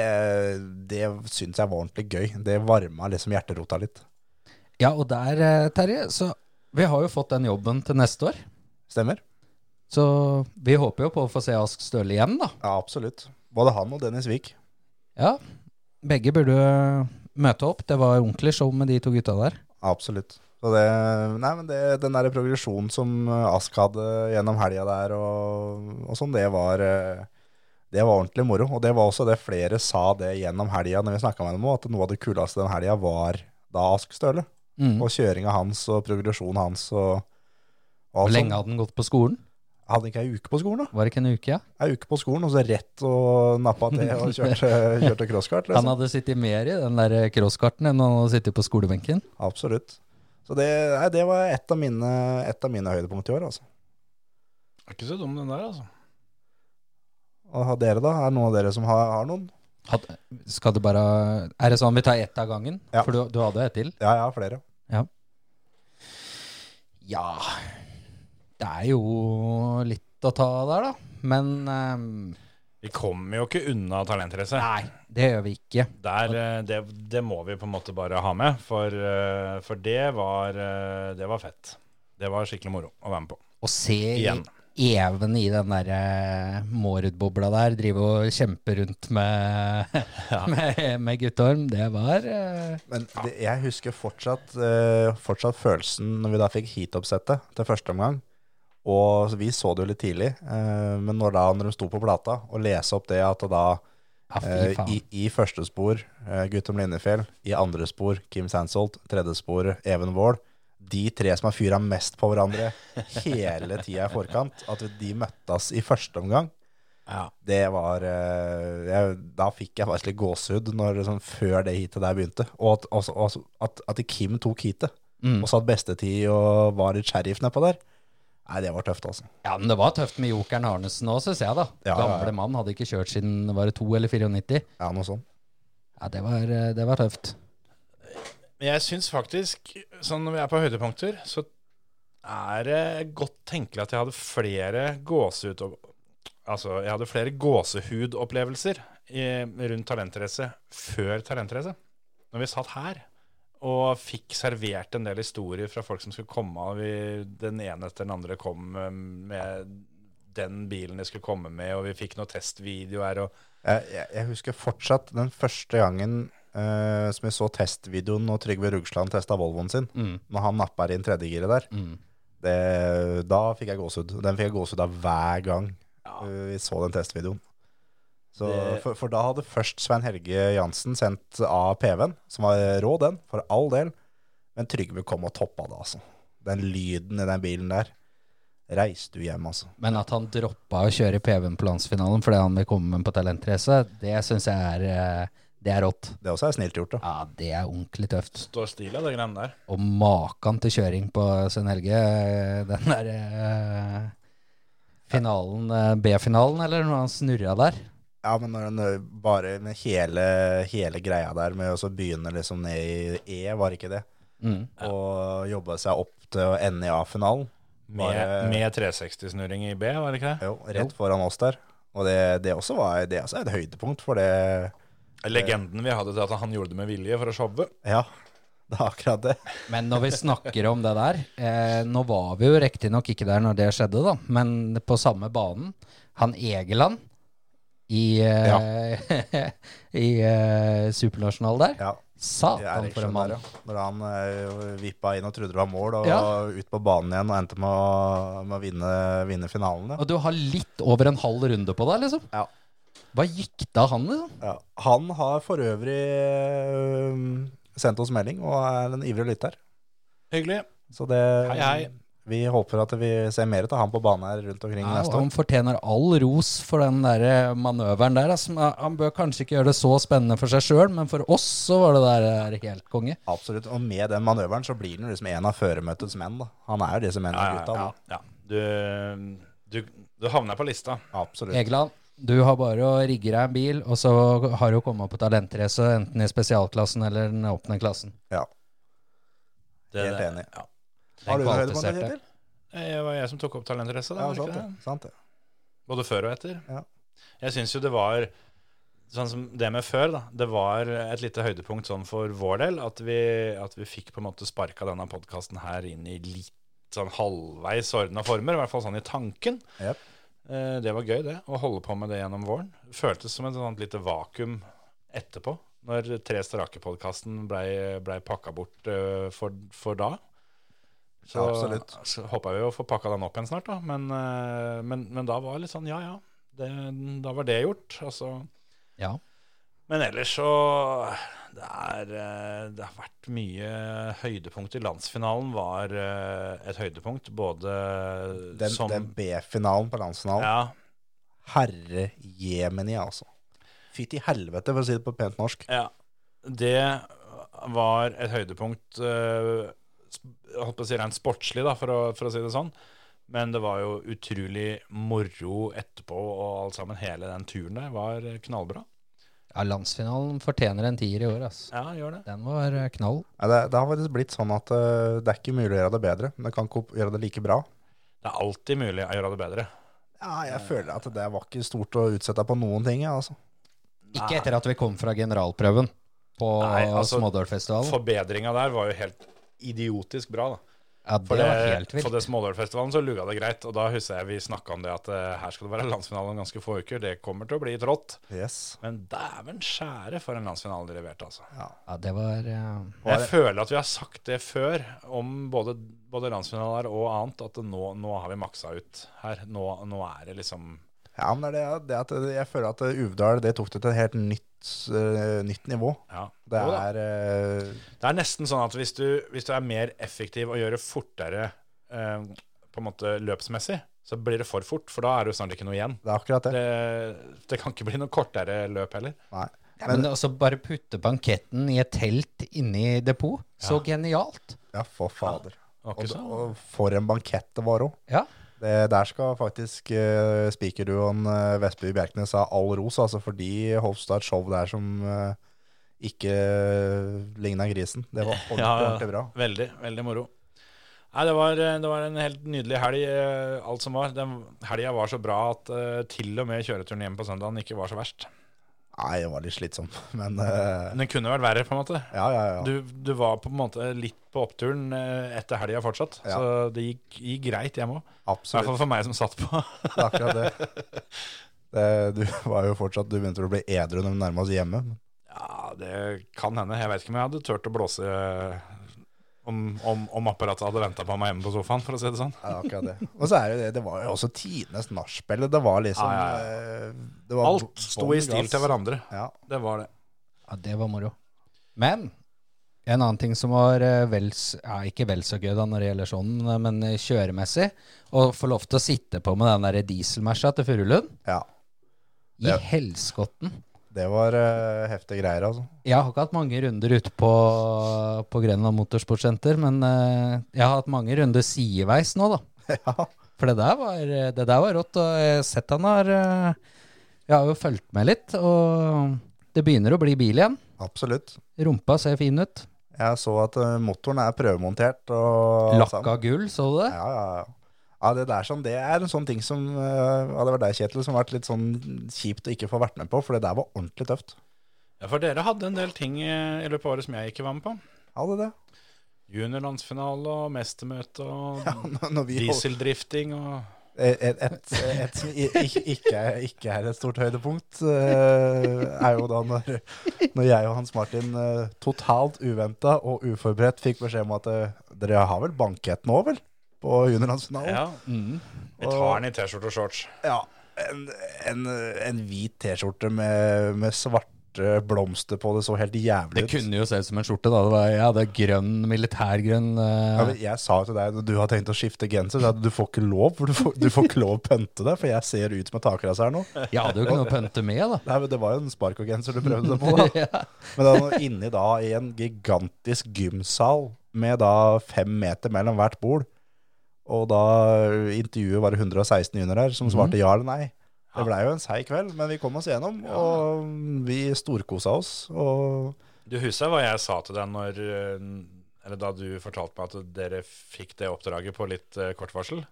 det syns jeg var ordentlig gøy. Det varma liksom hjerterota litt.
Ja, og der, eh, Terje, så vi har jo fått den jobben til neste år.
Stemmer?
Så vi håper jo på å få se Ask Støle igjen, da.
Ja, absolutt. Både han og Dennis Wiik.
Ja, begge burde eh, møte opp. Det var ordentlig show med de to gutta der.
Absolutt. Så det, nei, men det, den der progresjonen som eh, Ask hadde gjennom helga der, og, og sånn, det var eh, Det var ordentlig moro. Og det var også det flere sa det gjennom helga når vi snakka med dem òg, at noe av det kuleste den helga var da Ask Støle.
Mm.
Og kjøringa hans og progresjonen hans og, og
Hvor
alt
lenge
sånt.
hadde den gått på skolen?
Hadde ikke ei uke på skolen, da.
Var det ikke en uke, ja?
Ei uke på skolen, og så rett og nappa til og kjørte, kjørte crosskart.
Han
Liksom.
hadde sittet mer i den der crosskarten enn han hadde sittet på skolebenken.
liksom. Absolutt. Så det, nei, det var et av mine, et av mine høydepunkt i år, altså.
Er ikke så dum den der, altså.
Og har dere, da? Er det noen av dere som har, har noen?
Hadde, skal det bare Er det sånn vi tar ett av gangen?
Ja.
For du, du hadde ett til?
Ja, jeg har flere.
Ja Det er jo litt å ta der, da. Men ehm,
Vi kommer jo ikke unna talentrace.
nei, det gjør vi ikke.
Der, eh, det, det må vi på en måte bare ha med, for, eh, for det, var, eh, det var fett. Det var skikkelig moro å være med på.
Å se i-
Igjen.
Even i den der eh, Mårud-bobla der, drive og kjempe rundt med, med, med Guttorm, det var eh,
Men det, jeg husker fortsatt, eh, fortsatt følelsen når vi da fikk heatoppsettet til første omgang. Og så vi så det jo litt tidlig, eh, men når da når de sto på plata og lese opp det at da
Ja, Ah, fy
eh,
faen.
i, i første spor eh, Guttorm Linnefjell, i andre spor Kim Sandsholt, tredje spor Even Wold. De tre som har fyra mest på hverandre hele tida i forkant, at de møttes i første omgang.
Ja.
Det var eh, jeg, Da fikk jeg faktisk litt gåsehud når, liksom, før det heatet der begynte. Og at, også, også, at, at Kim tok heatet,
Mm.
og satt bestetid og var litt sheriff nedpå der. Nei, det var tøft, altså.
Ja, men det var tøft med jokeren Arnesen òg, syns jeg, da.
Ja, ja, ja.
Gamle mann hadde ikke kjørt siden var det to eller 94.
Ja, noe sånt.
Ja, det var, eh, det var tøft.
Men jeg syns faktisk, sånn når vi er på høydepunkter, så er det godt tenkelig at jeg hadde flere gåsehud Altså, jeg hadde flere gåsehudopplevelser i- rundt talentrace før talentrace. Når vi satt her og fikk servert en del historier fra folk som skulle komme, og vi, den ene etter den andre kom eh, med den bilen de skulle komme med, og vi fikk noen testvideoer og
Jeg, jeg, jeg husker fortsatt den første gangen eh, som jeg så testvideoen når Trygve Rugsland testa Volvoen sin, når han nappa inn tredjegiret der. Det, da fikk jeg gåsehud. Den fikk jeg gåsehud av hver gang eh, vi så den testvideoen. Så,
Det-
for, for da hadde først Svein Helge Jansen sendt av PV-en, som var rå, den, for all del. Men Trygve kom og toppa det, altså. Den lyden i den bilen der. Reiste du hjem, altså.
Men at han droppa å kjøre PV-en på landsfinalen fordi han vil komme med på talentrace, det syns jeg er eh, Det er rått.
Det også er snilt gjort, da.
Ja, det er ordentlig tøft.
Står stille, de greiene der.
Og makan til kjøring på Svein Helge, eh, den der eh, finalen, eh, B-finalen, eller når han snurra der.
Ja, men når den ø, bare med hele, hele greia der med å så begynne liksom ned i E, var det ikke det?
Mm.
Og jobbe seg opp til å ende i A-finalen.
Med, med 360-snurring i B, var det ikke det?
Jo, rett foran oss der. Og det, det også var det også er et høydepunkt, for det
Eh, Legenden vi hadde til at han gjorde det med vilje for å showe.
Ja, det er akkurat det.
Men når vi snakker om det der eh, Nå var vi jo riktignok ikke der når det skjedde, da, men på samme banen. Han Egeland i, eh, i eh, supernasjonal der.
Ja, det er
Satan
ikke
for en
sånn der,
mann.
ja. Når han ø, vippa inn og trodde det var mål, og
Ja.
ut på banen igjen og endte med å, med å vinne, vinne finalen. Ja.
Og du har litt over en halv runde på deg, liksom.
Ja.
Hva gikk da han, liksom?
Ja. Han har for øvrig ø, sendt oss melding, og er en ivrig lytter.
Hyggelig.
Så det
Hei, hei.
Vi håper at vi ser mer til han på banen her rundt omkring
Ja, og
neste år.
han fortjener all ros for den der eh, manøveren der. Altså, han bør kanskje ikke gjøre det så spennende for seg sjøl, men for oss så var det der eh, helt konge.
Absolutt. Og med den manøveren så blir han jo liksom en av føremøtets menn, da. Han er jo disse mennene
Ja,
gutta.
ja,
da.
ja. Du, du, du havner på lista.
Absolutt.
Egeland, du har bare å rigge deg en bil, og så har du å komme på talentrace, enten i spesialklassen eller den åpne klassen.
Ja.
Det,
Helt
det-
enig.
Ja.
Har du hørt på det,
kvalifiserte.
Kjetil?
Eh, Det var jeg som tok opp talentrace, da.
Ja,
var det
sant
ikke
det.
det?
Sant det.
Både før og etter.
Ja.
Jeg syns jo det var Sånn som det med før, da. Det var et lite høydepunkt sånn for vår del at vi, at vi fikk på en måte sparka denne podkasten her inn i litt sånn halvveis ordna former, i hvert fall sånn i tanken.
Jep.
Eh, Det var gøy, det. Å holde på med det gjennom våren. Føltes som et sånt lite vakuum etterpå, når Tre strake-podkasten blei ble pakka bort eh, for, for da. Så,
Absolutt.
så håpa vi å få pakka den opp igjen snart, da. Men, eh, men, men da var det litt sånn ja, ja. det, da var det gjort. Altså.
Ja.
Men ellers så det, er, eh, det har vært mye høydepunkt i landsfinalen. Var eh, et høydepunkt både
Den,
som
den B-finalen på landsfinalen.
ja,
Herre Jemini, altså. Fytti helvete, for å si det på pent norsk.
Ja, det var et høydepunkt eh, sp- Jeg holdt på å si rent sportslig, da, for å, for å si det sånn. Men det var jo utrolig moro etterpå, og alt sammen. Hele den turen der var knallbra.
ja, landsfinalen fortjener en tier i år, altså.
Ja, gjør det.
Den var eh, knall.
Nei, Det, det har faktisk blitt sånn at eh, det er ikke mulig å gjøre det bedre, men det kan ikke opp- gjøre det like bra.
Det er alltid mulig å gjøre det bedre.
Ja, jeg føler at det var ikke stort å utsette på noen ting, jeg, altså.
Ikke etter at vi kom fra generalprøven på
Nei, altså,
Smådølfestivalen.
Forbedringa der var jo helt idiotisk bra, da.
Ja, det
For det,
var helt
for
vilt.
Eh, det Smålørfestivalen så lugga det greit. Og da husker jeg vi snakka om det at eh, her skal det være landsfinale om ganske få uker. Det kommer til å bli trått.
Yes.
Men dæven skjære for en landsfinale de leverte, altså.
Ja, det var eh,
Jeg føler at vi har sagt det før, om både, både landsfinaler og annet, at nå, nå har vi maksa ut her. Nå, nå er det liksom
Ja, men det er det, det at jeg føler at Uvdal det tok det til et helt nytt, eh, nytt nivå.
ja.
Det
Jo da.
er eh,
det er nesten sånn at hvis du, hvis du er mer effektiv og gjør det fortere eh, på en måte løpsmessig, så blir det for fort, for da er det jo snart ikke noe igjen.
det er akkurat det.
Det, det kan ikke bli noe kortere løp heller.
Nei.
ja, Men også bare putte banketten i et telt inni depot. Så genialt.
Ja, for fader.
Det var
Og,
ikke så-
og for en bankett det var òg.
Ja.
Der skal faktisk uh, speakerduoen eh, Vestby Bjerknes ha all ros, altså, for de hosta et show der som eh, ikke ligna grisen. Det var ordentlig,
Ja, ja.
ordentlig bra.
Veldig, veldig moro. Nei, det var, det var en helt nydelig helg, eh, alt som var. Den helga var så bra at eh, til og med kjøreturen hjem på søndagen ikke var så verst.
Nei, det var litt slitsom, men eh,
Men det kunne vært verre, på en måte.
ja, ja, ja.
Du, du var på en måte litt på oppturen eh, etter helga fortsatt,
Ja.
så det gikk, gikk greit hjem òg. I hvert
Absolutt.
fall for meg som satt på.
Det er akkurat det. det. Du var jo fortsatt Du begynte å bli edru når vi nærma oss hjemme.
Ja, det kan hende. Jeg vet ikke om jeg hadde turt å blåse eh, om, om, om apparatet hadde venta på meg hjemme på sofaen, for å si det sånn.
Ja, det er akkurat det. Og så er det jo det, det var jo også tidenes nachspiel. Det var liksom
Ja, ja,
eh, det var
Alt sto i
bånn
stil
gass.
til hverandre.
Ja.
Det var det.
Ja, det var moro. Men en annen ting som var eh, vel, s- ja, ikke vel så gøy da når det gjelder sånn, eh, men eh, kjøremessig, å få lov til å sitte på med den der dieselmersa til Furulund.
ja.
I
Ja.
helskotten.
Det var eh, heftige greier, altså.
Jeg har ikke hatt mange runder ute på, på Grenland Motorsportsenter, men eh, jeg har hatt mange runder sideveis nå, da.
Ja.
For det der var, eh, det der var rått. Og jeg har sett han har eh, Jeg har jo fulgt med litt, og det begynner å bli bil igjen.
Absolutt.
Rumpa ser fin ut.
Jeg så at eh, motoren er prøvemontert. Og alt sammen.
Lakka gull, så du det?
Ja, ja, ja. Ja, det der sånn, det er en sånn ting som eh, Ja, det var deg, Kjetil, som har vært litt sånn kjipt å ikke få vært med på, for det der var ordentlig tøft.
Ja, for dere hadde en del ting eh, i løpet av året som jeg ikke var med på.
Ja, det det.
Juniorlandsfinale og mestermøte og
Når vi holdt-
dieseldrifting og
Et, et, et, et som i- i- ikke, er- ikke er et stort høydepunkt, eh, er jo da når, når jeg og Hans Martin eh, totalt uventa og uforberedt fikk beskjed om at eh, dere har vel bankett nå, vel? På juniorlandsfinalen.
Ja.
Mm.
Vi tar den i T-skjorte og shorts.
Ja, en, en, en hvit T-skjorte med, med svarte blomster på det så helt jævlig
Det
ut.
kunne jo se ut som en skjorte, da. Det var, jeg hadde grønn, militærgrønn eh,
Ja, men jeg sa jo til deg når du har tenkt å skifte genser, så at du får ikke lov. For du får, du får ikke lov å pønte deg, for jeg ser ut som en takrass her nå.
Jeg hadde jo ikke noe å pønte med, da.
Nei, men Det var jo en sparkogenser du prøvde deg på, da.
Ja.
Men det var inni da i en gigantisk gymsal med da fem meter mellom hvert bord. Og da intervjuet var det 116 juniorer her som svarte ja eller nei. Det blei jo en seig kveld, men vi kom oss gjennom, og vi storkosa oss. Og
Du husker hva jeg sa til deg når eh, Eller da du fortalte meg at dere fikk det oppdraget på litt eh, kort varsel?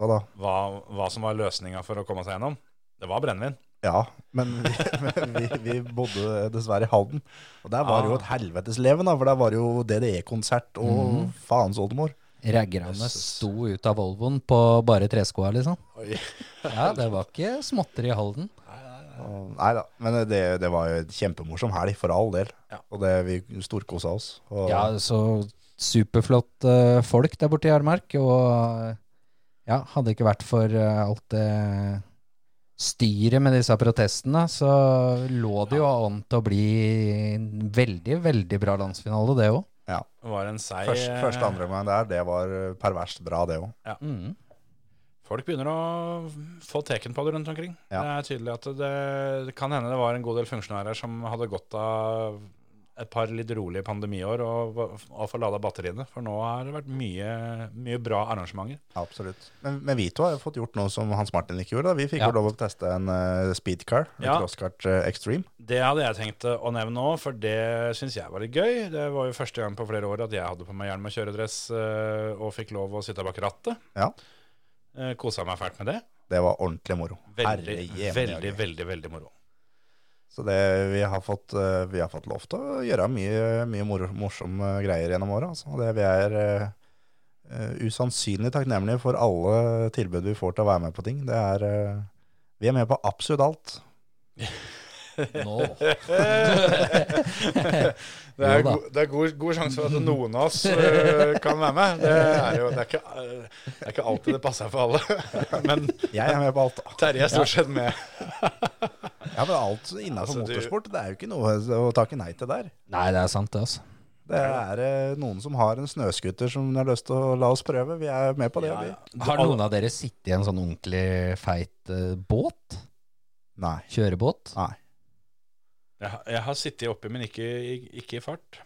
hva da?
Hva, hva som var løsninga for å komme seg gjennom? Det var brennevin.
Ja, men vi, men vi, vi bodde dessverre i Halden. Og der var det jo et helvetesleven, da, for der var det jo DDE-konsert og faens oldemor.
Raggerne sto ut av Volvoen på bare treskoa, liksom.
Oi.
Ja, det var ikke småtteri i Halden.
Og- Nei da, men det, det var jo en kjempemorsom helg, for all del.
Ja.
Og det, vi storkosa oss. Og,
Ja, så superflott eh, folk der borte i Armark. Og ja, hadde eh, det ikke vært for eh, alt det styret med disse protestene, så lå det jo an til å bli en veldig, veldig bra landsfinale, det òg.
Det var en seig
Først, første andre omgang der, det var perverst bra, det òg.
Mm.
Folk begynner å få teken på det rundt omkring.
Ja.
Det er tydelig at det, det kan hende det var en god del funksjonærer som hadde godt av et par litt rolige pandemiår og, og få lada batteriene. For nå har det vært mye, mye bra arrangementer.
Absolutt. Men, men vi to har jo fått gjort noe som Hans Martin ikke gjorde. Da. Vi fikk
Ja.
jo lov å teste en eh, speedcar, en
Ja.
crosskart eh, Extreme.
Det hadde jeg tenkt å nevne òg, for det syns jeg var litt gøy. Det var jo første gang på flere år at jeg hadde på meg hjelm og kjøredress eh, og fikk lov å sitte bak rattet.
Ja.
Eh, Kosa meg fælt med det.
Det var ordentlig moro.
Veldig,
Herre jemene,
veldig,
Jørgen.
veldig, veldig moro.
Så det, vi, har fått, eh, vi har fått lov til å gjøre mye, mye moro, morsomme greier gjennom året. Altså. Og Det, vi er eh, eh, usannsynlig takknemlige for alle tilbud vi får til å være med på ting. Det er, eh, vi er med på absolutt alt.
Nå.
Det er,
Jo da.
god, det er god, god sjanse for at noen av oss øh, kan være med. Det er jo det er ikke, øh, det er ikke alltid det passer for alle. Men
Jeg er med på alt.
Terje er stort sett med.
Ja, men alt
Altså,
innenfor
du-
motorsport, det er jo ikke noe å takke nei til der.
Nei, det er sant, det, altså.
Det er eh, noen som har en snøskuter som de har lyst til å la oss prøve. Vi er med på det.
Ja, ja.
Vi.
Har noen av dere sittet i en sånn ordentlig feit eh, båt?
Nei.
Kjørebåt?
Nei.
Jeg, har- jeg har sittet oppi, men ikke, i- ikke i fart.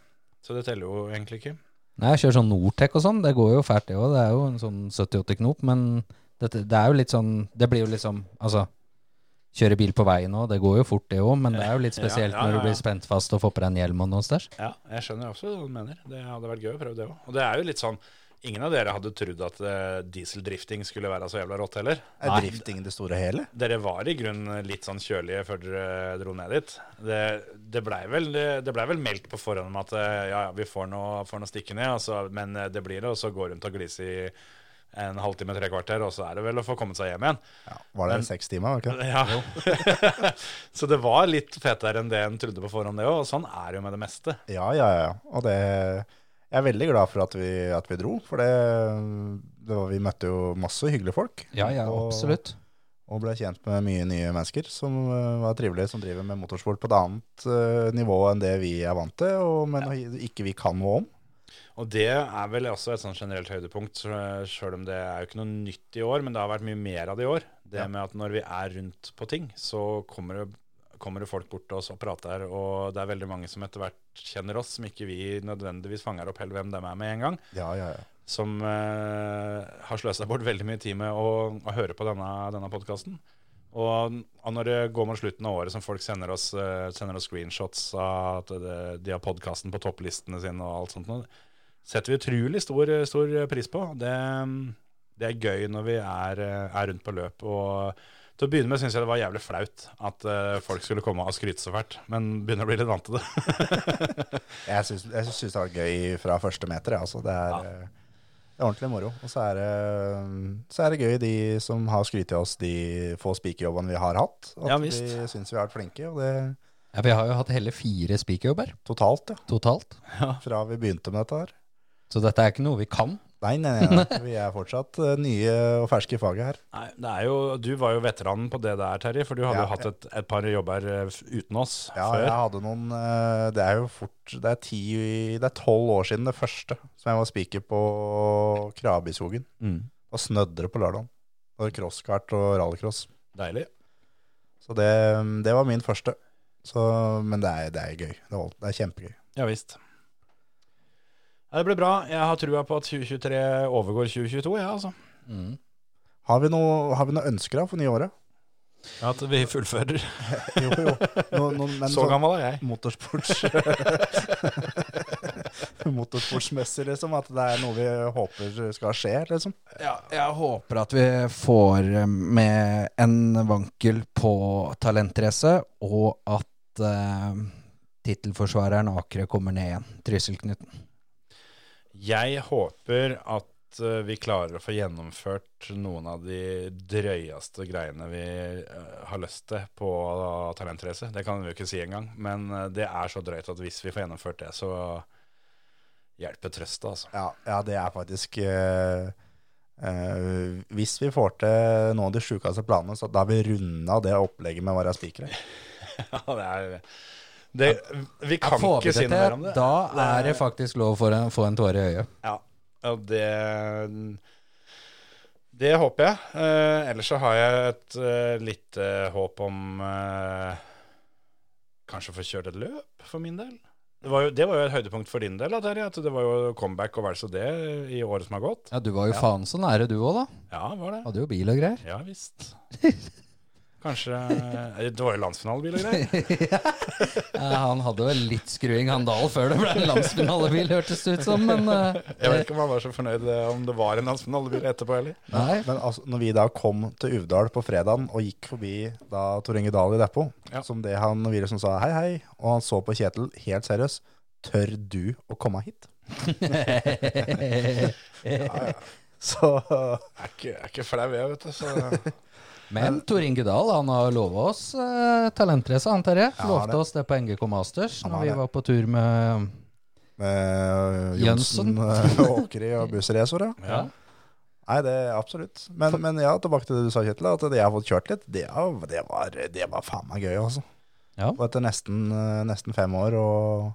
Så det teller jo egentlig ikke.
Nei, jeg kjører sånn Nortec og sånn. Det går jo fælt, det òg. Det er jo en sånn 70-80 knop. Men dette, det er jo litt sånn Det blir jo liksom Altså, kjøre bil på veien òg, det går jo fort, det òg. Men det er jo litt
Ja,
spesielt
ja,
når
ja,
du
ja.
blir spent fast og får på deg en hjelm og noe stæsj.
Ja, Jeg skjønner også hva du mener. Det hadde vært gøy å prøve det òg. Og det er jo litt sånn Ingen av dere hadde trodd at eh, dieseldrifting skulle være så jævla rått heller.
Er
Nei.
drifting det store hele?
Dere var i grunnen litt sånn kjølige før dere dro ned dit. Det, det blei vel, det ble vel meldt på forhånd om at eh, ja, ja, vi får noe, får noe stikke ned, altså, men eh, det blir det, og så går rundt og gliser i en halvtime, tre kvarter, og så er det vel å få kommet seg hjem igjen.
Ja, var det
Men-
seks timer? var det Ikke?
Ja. så det var litt fetere enn det en trodde på forhånd, det òg, og sånn er det jo med det meste.
det? Ja, ja, ja. Og det, jeg er veldig glad for at vi, at vi dro, for det, det var, vi møtte jo masse hyggelige folk.
Ja, ja,
og,
absolutt.
Og ble kjent med mye nye mennesker som eh, var trivelige, som driver med motorsport på et annet eh, nivå enn det vi er vant til, og, men ikke vi kan noe om.
Og det er vel også et sånn generelt høydepunkt, sjøl om det er jo ikke noe nytt i år, men det har vært mye mer av det i år. Det
Ja.
med at når vi er rundt på ting, så kommer det, kommer det folk bort til oss og prater, og det er veldig mange som etter hvert kjenner oss, som ikke vi nødvendigvis fanger opp helt hvem dem er med en gang,
Ja, ja, ja.
som eh, har sløsa bort veldig mye tid med å, å høre på denne, denne podkasten. Og, og når det går mot slutten av året, som folk sender oss, eh, sender oss screenshots av at det, de har podkasten på topplistene sine og alt sånt, noe, setter vi utrolig stor, stor pris på. Det, det er gøy når vi er, eh, er rundt på løp. Og til å begynne med syns jeg det var jævlig flaut at eh, folk skulle komme og skryte så fælt, men begynner å bli litt vant til det.
Jeg syns, jeg syns det var gøy fra første meter. jeg, Altså. Det, er, eh, det er ordentlig moro. Og så er, det, så er det gøy de som har skrytt av oss, de få spikerjobbene vi har hatt. At
Ja, visst.
de syns vi har vært flinke. Og det
Ja, vi har jo hatt hele fire spikerjobber
totalt, ja.
totalt.
Fra vi begynte med dette her.
Så dette er ikke noe vi kan.
Nei, nei, nei. nei. Vi er fortsatt eh, nye og ferske i faget her.
Nei, det er jo, Du var jo veteranen på det der, Terje, for du hadde
Ja.
jo hatt et, et par jobber eh, f- uten oss
Ja,
før.
jeg hadde noen eh, Det er jo fort Det er ti Det er tolv år siden det første som jeg var spiker på Krabishogen.
Mm.
Da snødde det på lørdagen. Det var crosskart og rallycross.
Deilig.
Så det, det var min første. Så, men det er, det er gøy. Det er, det er kjempegøy.
Ja visst. Ja, det blir bra. Jeg har trua på at 2023 overgår 2022, jeg, ja, altså.
Mm.
Har vi noe, har vi noe ønsker da for nye året?
At vi fullfører.
Jo, jo. No, no, men
Så
sånn
gammel er jeg.
motorsports... Motorsportsmessig, liksom. At det er noe vi håper skal skje, liksom.
Ja, jeg håper at vi får eh, med en vankel på talentrace, og at eh, tittelforsvareren Akre kommer ned igjen. Trysilknuten.
Jeg håper at eh, vi klarer å få gjennomført noen av de drøyeste greiene vi eh, har lyst til på uh, talentrace. Det kan vi jo ikke si engang, men eh, det er så drøyt at hvis vi får gjennomført det, så hjelper trøsta, altså.
Ja, ja det er faktisk eh, Eh, hvis vi får til noen av de sjukeste planene, så da har vi runda det opplegget med Vara Spikere.
Ja, det er det, Vi kan
Får vi
ikke si
det
noe mer om
til,
det.
da er det faktisk lov for en, få en tåre i øyet.
Ja, og det Det håper jeg. Eh, ellers så har jeg et eh, lite håp om eh, kanskje å få kjørt et løp, for min del. Det var jo, det var jo et høydepunkt for din del, da, Terje. At det var jo comeback og vel så det i året som har gått.
Ja, du var jo faen så nære du òg, da.
Ja, var det.
Hadde jo bil og greier.
Ja visst. Kanskje eh, Det var jo landsfinalebil og greier.
Eh, Han hadde vel litt skruing, han Dahl, før det ble en landsfinalebil, hørtes det ut som. Men eh,
Jeg vet ikke om han var så fornøyd eh, om det var en landsfinalebil etterpå heller.
nei.
Men altså, når vi da kom til Uvdal på fredagen og gikk forbi da Tor Inge Dahl i depot,
Ja.
som det han Wilhelmsen sa hei, hei, og han så på Kjetil helt seriøst, tør du å komme hit? Så
Jeg er ikke, jeg er ikke flau, jeg, vet du. Så
Men Tor Inge Dahl han har lova oss eh, talentrace, han Terje.
Ja,
Lovte
det.
oss det på NGK Masters
Han
når
har
vi
det.
var på tur med
eh,
Jensen.
Johnsen, eh, Åkeri og Busseracere.
ja.
Nei, det er absolutt. Men, men ja, tilbake til det du sa, Kjetil, at det jeg har fått kjørt litt, det, er- det, var, det var faen meg gøy, altså.
Ja.
Og etter nesten, eh, nesten fem år, og,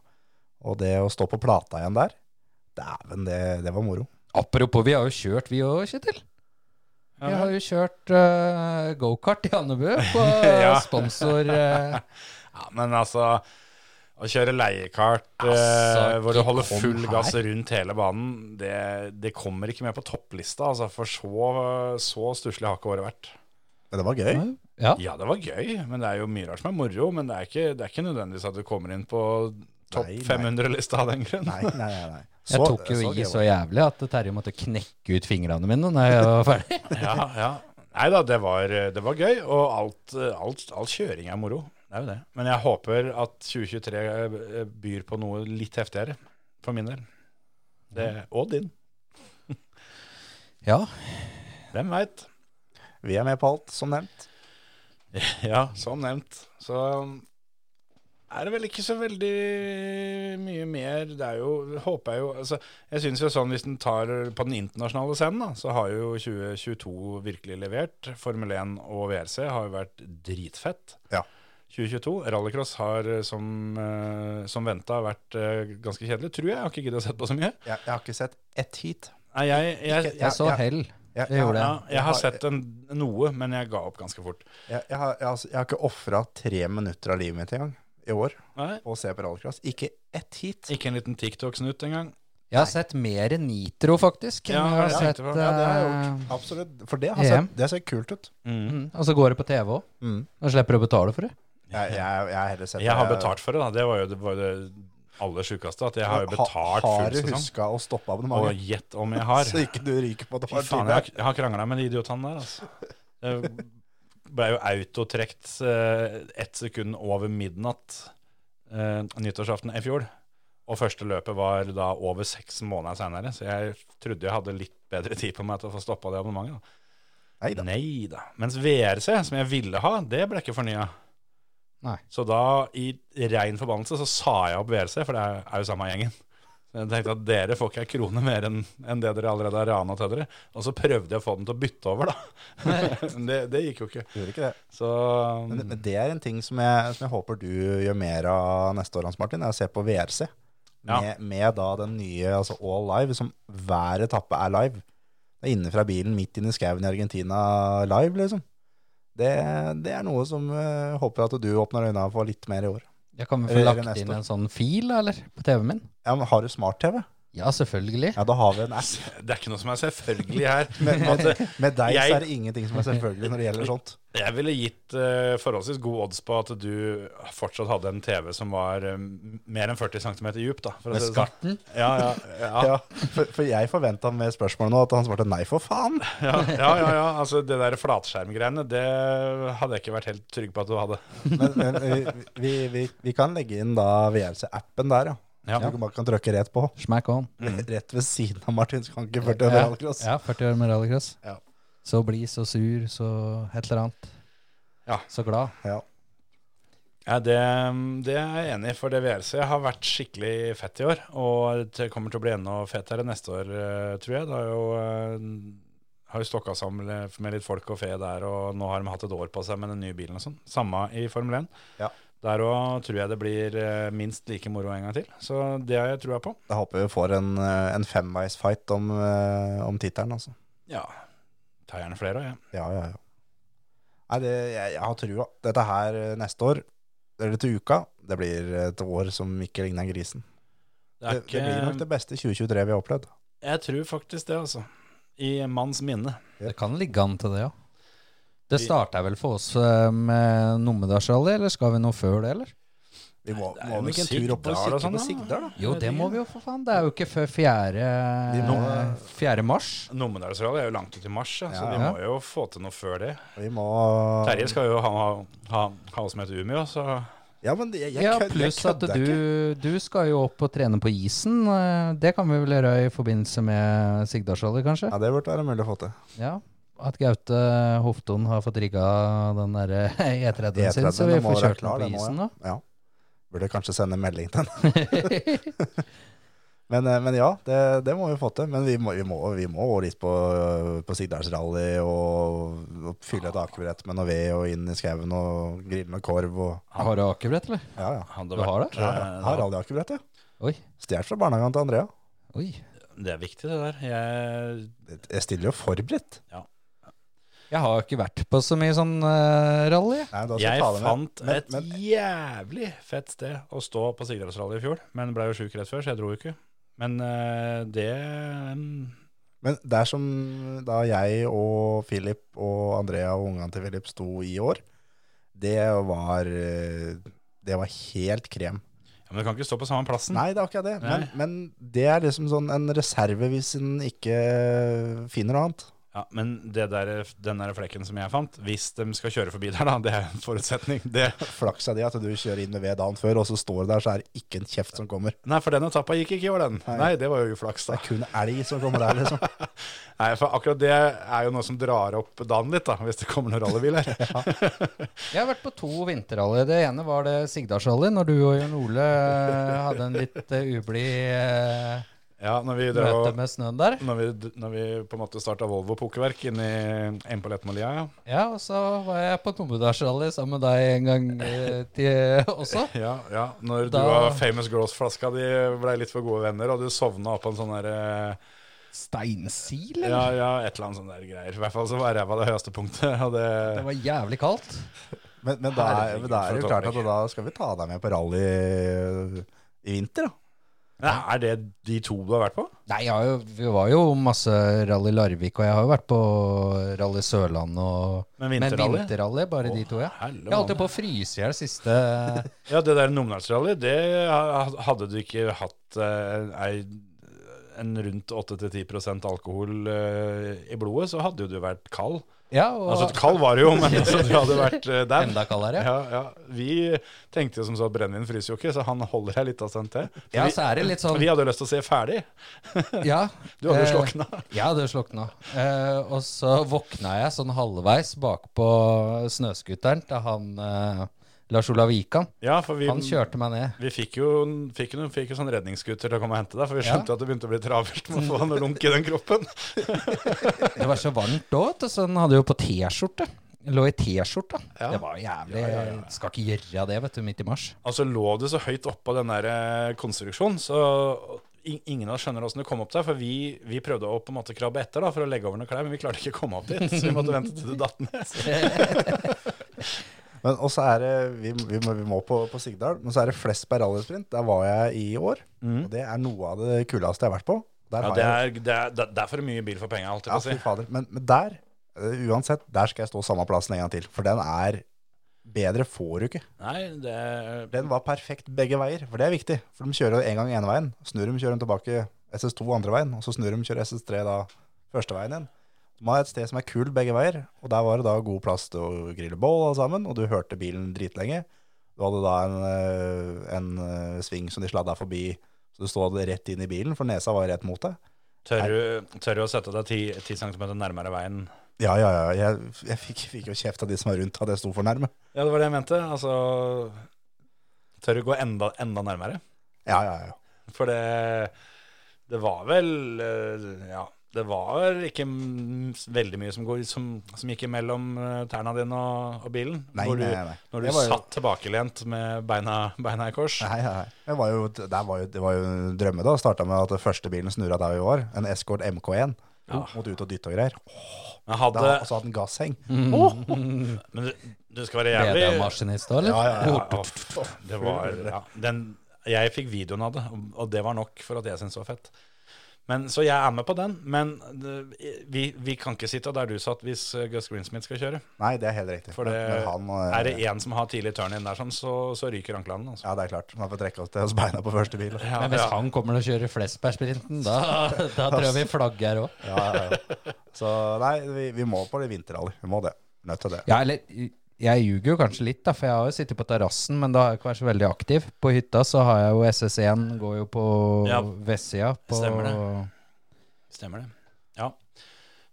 og det å stå på plata igjen der, dæven, det, det var moro.
Apropos, vi har jo kjørt, vi òg, Kjetil. Vi har jo kjørt eh, gokart i Andebu på
Ja.
sponsor eh,
Ja, men altså å kjøre leiekart eh,
Altså,
hvor du
ikke
holder
kom
full
her.
gass rundt hele banen, det, det kommer ikke med på topplista, altså, for så, så stusslig har ikke året vært.
Men det var gøy.
Ja.
Ja, det var gøy, men det er jo mye rart som er moro. Men det er ikke, det er ikke nødvendigvis at du kommer inn på topp
Nei, nei.
500-lista av den grunn.
Nei, nei, nei. nei.
Jeg tok jo i
gøy
så
var det.
jævlig at Terje måtte knekke ut fingrene mine når jeg var ferdig.
Ja, ja. Nei da, det var, det var gøy, og alt, alt, all kjøring er moro. Det er jo det. Men jeg håper at 2023 byr på noe litt heftigere, for min del. Det, og din.
Ja.
Hvem veit?
Vi er med på alt, som nevnt.
Ja, som nevnt. Så um, er det vel ikke så veldig mye mer. Det er jo, håper jeg jo altså, Jeg syns jo sånn hvis en tar på den internasjonale scenen, da, så har jo 2022 virkelig levert. Formel 1 og WRC har jo vært dritfett.
Ja.
2022. Rallycross har eh, som, eh, som venta vært eh, ganske kjedelig, tror jeg. Jeg har ikke giddet å sett på så mye.
Jeg, jeg har ikke sett ett heat.
Nei, jeg, jeg,
Ikke-
jeg,
Jeg så
ja.
hell.
Jeg,
Det gjorde
ja,
jeg.
jeg har sett en, noe, men jeg ga opp ganske fort.
Jeg, jeg, har, jeg, har, jeg har ikke ofra tre minutter av livet mitt engang i år
Nei,
på å se på rallycross. Ikke ett heat.
ikke en liten TikTok-snutt engang.
Jeg har sett mer nitro, faktisk. enn
Ja,
jeg har
ja,
sett,
nitro. Ja, det har jeg
eh,
Absolutt. For det har
EM.
sett, det ser kult ut.
mm, Og så går det på TV òg.
Mm.
Da slipper du å betale for det.
Jeg, jeg, jeg har heller sett
Jeg har betalt for det, da. Det var jo det, var det aller sjukeste. At jeg har jo betalt
ha,
full
Har du
sesong.
huska å stoppe
Og
abonnementet?
gjett om jeg har.
Så ikke du ryker på det.
Fy faen, jeg, har- jeg har krangla med de idiotene der, altså. Det ble jo autotrekt eh, ett sekund over midnatt eh, nyttårsaften i fjor. Og første løpet var da over seks måneder seinere, så jeg trodde jeg hadde litt bedre tid på meg til å få stoppa det abonnementet. da.
Neida.
Nei da. Mens VRC, som jeg ville ha, det ble ikke fornya.
Nei.
Så da, i rein forbannelse, så sa jeg opp VRC, for det er- er jo samme gjengen. Så Jeg tenkte at dere får ikke ei krone mer enn enn det dere allerede har rana til dere. Og så prøvde jeg å få den til å bytte over, da. Men det, det gikk jo ikke.
Gjorde ikke det.
Så
Men, men det er en ting som jeg, som jeg håper du gjør mer av neste år, Hans Martin, er å se på VRC.
Ja.
Med, med da den nye altså All Live, som hver etappe er live. Det er inne fra bilen, midt inne i skauen i Argentina, live, liksom. Det, det er noe som eh, håper jeg at du åpner øynene for litt mer i år.
Jeg kan vel få
Eller
lagt
neste
inn
år.
en sånn fil, da, eller? På TV-en min?
Ja, men Har du smart-TV?
Ja, selvfølgelig.
Ja, da har vi en app.
det er ikke noe som er selvfølgelig her.
Med, med,
At, eh,
med deg
jeg-
så er det ingenting som er selvfølgelig når det gjelder sånt.
jeg ville gitt eh, forholdsvis gode odds på at du fortsatt hadde en TV som var eh, mer enn 40 cm djup, da. For å
Med
si det sånn.
skarten.
Ja, ja, ja.
Ja, for, for jeg forventa med spørsmålet nå at han svarte nei, for faen.
Ja, ja, ja, ja. Altså, det der flatskjermgreiene, det hadde jeg ikke vært helt trygg på at du hadde.
Men, men vi, vi, vi, vi kan legge inn da VRC-appen der, ja.
Ja. Mm.
Du bare kan trykke rett på.
Smack on.
Rett ved siden av Martin Skanke 40
Ja.
rallcross.
Ja, 40 år med rallycross.
Ja.
Så blid, så sur, så et eller annet.
Ja.
Så glad.
Ja.
Ja, det, det er jeg enig i, for det VRC har vært skikkelig fett i år. Og det kommer til å bli enda fetere neste år, eh, tror jeg. Det har jo eh, Har jo stokka sammen med med litt folk og fe der, og nå har de hatt et år på seg med den nye bilen og sånn. Samme i Formel 1.
Ja.
Der òg tror jeg det blir eh, minst like moro en gang til. Så det har jeg trua på.
Jeg håper vi får en, eh, en femveisfight om, eh, om tittelen, altså.
Ja. Tar gjerne flere òg, jeg.
Ja, ja, ja. Nei, det, jeg, jeg har trua. Dette her eh, neste år, eller til uka, det blir et år som ikke ligner grisen.
Det
Det,
er
det blir nok
ikke
det beste 2023 vi har opplevd.
Jeg tror faktisk det, altså. I manns minne.
Det kan ligge an til det, ja. Det starta vel for oss eh, med Numedalsrally, eller skal vi noe før det, eller?
Vi må,
Det er
må
jo
vel ikke en
Sigdal
tur opp og
og
kikke
sånn,
på
da.
Sigdal, da?
Jo, det må vi jo, for faen. Det er jo ikke før 4.
Vi må-
4. mars.
Numedalsrally er jo langt ut i mars, ja, så
Ja,
vi
ja.
må jo få til noe før det.
Vi må
Terje skal jo ha, ha, ha oss med til Umeå, så
Ja, men jeg, jeg,
Ja,
kødd- jeg
pluss at
kødder ikke.
du, du skal jo opp og trene på isen. eh, Det kan vi vel gjøre i forbindelse med Sigdalsrally, kanskje?
Ja, det burde være mulig å få til.
Ja. At Gaute Hofton har fått rigga den derre E30-en sin,
E30,
så vi
E den må
får
være
kjørt
klar,
den på
den må,
isen, da.
Ja. Burde kanskje sende en melding til henne. Men, eh, men ja, det, det må vi få til. Men vi må, vi må, vi må over dit på, på Sigdalsrally og, og fylle et akebrett med noe ved og inn i skauen og grille med korv og
Har du akebrett, eller?
Ja, ja.
hadde
Du har det?
ja, ja.
eh,
Har rallyakebrett, ja.
Oi.
Stjålet fra barnehagen til Andrea.
Oi.
Det er viktig, det der. Jeg,
Jeg stiller jo forberedt.
Jeg har jo ikke vært på så mye sånn eh, rally.
Nei, da skal
jeg
ta det med.
fant
Men-
et jævlig fett sted å stå på Sigdalsrally i fjor, men ble jo sjuk rett før, så jeg dro jo ikke. Men eh, det mm,
Men der som da jeg og Philip og Andrea og ungene til Philip sto i år, det var, eh, det var helt krem.
ja, Men du kan ikke stå på samme plassen.
Nei, det er akkurat det. Men,
Mm. Nei.
men det er liksom sånn en reserve hvis en ikke finner noe annet.
Ja, men det der, den der flekken som jeg fant, hvis de skal kjøre forbi der, da, det er en forutsetning. Det,
Flaks av det at du kjører inn med ved dagen før, og så står du der, så er det ikke en kjeft som kommer.
nei, for den etappa gikk ikke i år, den. Nei. det var jo uflaks,
Det
da.
er kun elg som kommer der, liksom.
Nei, for akkurat det er jo noe som drar opp dagen litt, da, hvis det kommer noen rallybiler.
Jeg har vært på to vinterrally. Det ene var det Sigdalsrally, når du og Jørn Ole eh, hadde en litt eh, ublid eh,
Ja, når vi drev
møte
og
med snøen der.
når vi, når vi på en måte starta Volvo pokerverk inni inn på Lettmålia, ja.
Ja, og så var jeg på Tomedalsrally sammen med deg en gang eh, til også.
Ja, ja. Når
Da-
du og Famous Girls-flaska di blei litt for gode venner, og du sovna på en sånn der eh,
Steinsil, eller?
Ja, ja, et eller annet sånn der greier. I hvert fall så var ræva det høyeste punktet. Og det,
Det var jævlig kaldt.
Men, men da, er, men da er det jo
Herregud, for
klart
et
at da skal vi ta deg med på rally i vinter, da.
Nei, er det de to du har vært på?
Nei, jeg har jo, vi var jo masse rally Larvik, og jeg har jo vært på rally Sørland og
Men vinterrally?
Men vinterrally, bare de to, ja.
Helle
Jeg holdt jo
mann.
på å fryse i hjel siste
Ja, det der Numedalsrally, det ha- hadde du ikke hatt eh, ei en rundt 8-10 alkohol eh, i blodet, så hadde jo du vært kald.
Ja, og
Altså, kald var du jo, men altså, du hadde vært uh, der.
enda kaldere.
Ja, ja. Vi tenkte jo som så at brennevin fryser jo ikke, så han holder ei lita stund til. For
Ja,
vi-
så er det litt sånn
Vi hadde jo lyst til å se ferdig.
ja,
Du hadde jo
eh,
slokna.
Jeg hadde slokna. Eh, og så våkna jeg sånn halvveis bakpå snøskuteren til han eh, Lars Olav Wikan.
Ja, for vi,
Han kjørte meg ned.
vi fikk jo fikk, jo- fikk jo sånn redningsskuter til å komme og hente deg, for vi
Ja.
skjønte at det begynte å bli travelt med å få noe lunk i den kroppen.
Det var så varmt òg, vet du, så han hadde jo på T-skjorte. Lå i T-skjorta.
Ja.
Det var jævlig
Ja, ja, ja.
Skal ikke gjøre det, vet du, midt i mars.
Altså lå du så høyt oppå den der eh, konstruksjonen, så in- ingen av oss skjønner åssen du kom opp der. For vi, vi prøvde å på en måte krabbe etter da, for å legge over noen klær, men vi klarte ikke å komme opp dit. Så vi måtte vente til du datt ned.
Men også er det, vi, vi, må, vi må på, på Sigdal, men så er det flest per rallysprint. Der var jeg i år, og det er noe av det kuleste jeg har vært på. Der
Mm. Ja,
har
det
jeg,
er, det, er, det er for mye bil for penga, alt jeg
ja,
på å si.
fy fader. Men, men der, eh, uansett, der skal jeg stå samme plassen en gang til, for den er bedre får du ikke.
Nei, det
Den var perfekt begge veier, for det er viktig. For de kjører en gang ene veien, snur de, kjører de tilbake SS2 andre veien, og så snur de, kjører SS3 da første veien igjen. De har et sted som er kul begge veier, og der var det da god plass til å grille bål alle sammen, og du hørte bilen dritlenge. Du hadde da en, eh, en eh, sving som de sladda forbi, så du stod rett inn i bilen, for nesa var rett mot deg.
Tør du, tør du å sette deg 10 10 centimeter nærmere veien?
Ja, ja, ja, jeg, jeg fikk, fikk jo kjeft av de som var rundt at jeg sto for nærme.
Ja, det var det jeg mente. Altså Tør du gå enda, enda nærmere?
Ja, ja, ja.
For det, det var vel eh, Ja, det var ikke m- veldig mye som, går, som, som gikk imellom eh, tærne dine og, og bilen.
Nei,
når du,
nei, nei.
Når
Jeg
du
var jo-
satt tilbakelent med beina, beina i kors.
Nei, nei, nei. Det var jo, det var jo, det var jo en drømme da. Starta med at den første bilen snurra der vi var. En Escort MK1.
Ja.
Måtte ut og dytte og greier.
Men,
Da,
hadde,
og så hadde den gassheng.
men du, du skal være jævlig
BD-maskinist da, eller?
Ja, ja, ja.
Ja, Det var ja, den, Jeg fikk videoen av det, og det var nok for at jeg syntes det var fett. Men, så jeg er med på den, men det- vi, vi kan ikke sitte der du satt hvis eh, Gus Greensmith skal kjøre.
Nei, det er helt riktig.
For det,
Men han, eh,
er det én som har tidlig turn in der, sånn, så, så ryker anklene. Altså.
Ja, det er klart. Man får trekke oss til oss beina på første bil.
Ja,
Men hvis
ja.
han kommer og kjører Flesberg-sprinten, da, da tror jeg vi flagger her òg.
Ja, ja, ja. Så nei, vi, vi må på det vinterrally. Vi må det. Nødt til det.
Ja, eller jeg ljuger jo kanskje litt, da, for jeg har jo sittet på terrassen, men da har jeg ikke vært så veldig aktiv. På hytta så har jeg jo SS1, går jo på
Ja.
vestsida. På,
Stemmer det. Stemmer det. Ja.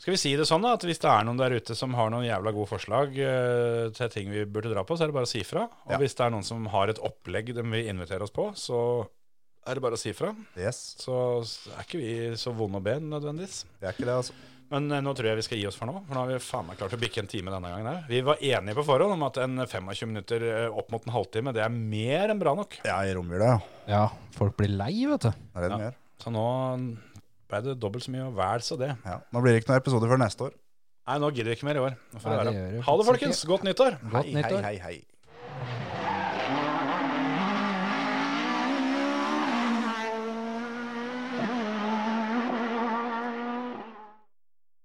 Skal vi si det sånn da, at hvis det er noen der ute som har noen jævla gode forslag eh, til ting vi burde dra på, så er det bare å si fra. Og
Ja.
hvis det er noen som har et opplegg de vil invitere oss på, så er det bare å si fra.
Yes,
Så s- er ikke vi så vonde å be nødvendigvis.
det er ikke det, altså.
Men eh, nå tror jeg vi skal gi oss for nå, for nå har vi faen meg klart å bikke en time denne gangen her. Vi var enige på forhånd om at en 25 minutter eh, opp mot en halvtime, det er mer enn bra nok.
Ja, i romjula, ja.
Ja, folk blir lei, vet du.
Det er det de
Ja.
gjør.
Så nå ble det dobbelt så mye og vel så det.
Ja. Nå blir det ikke noen episoder før neste år.
Nei, nå gidder vi ikke mer i år. Nå får
Nei,
det
det
være.
gjør vi
Ha det,
faktisk
folkens. Godt nyttår.
Godt
hei,
nyttår.
hei, hei.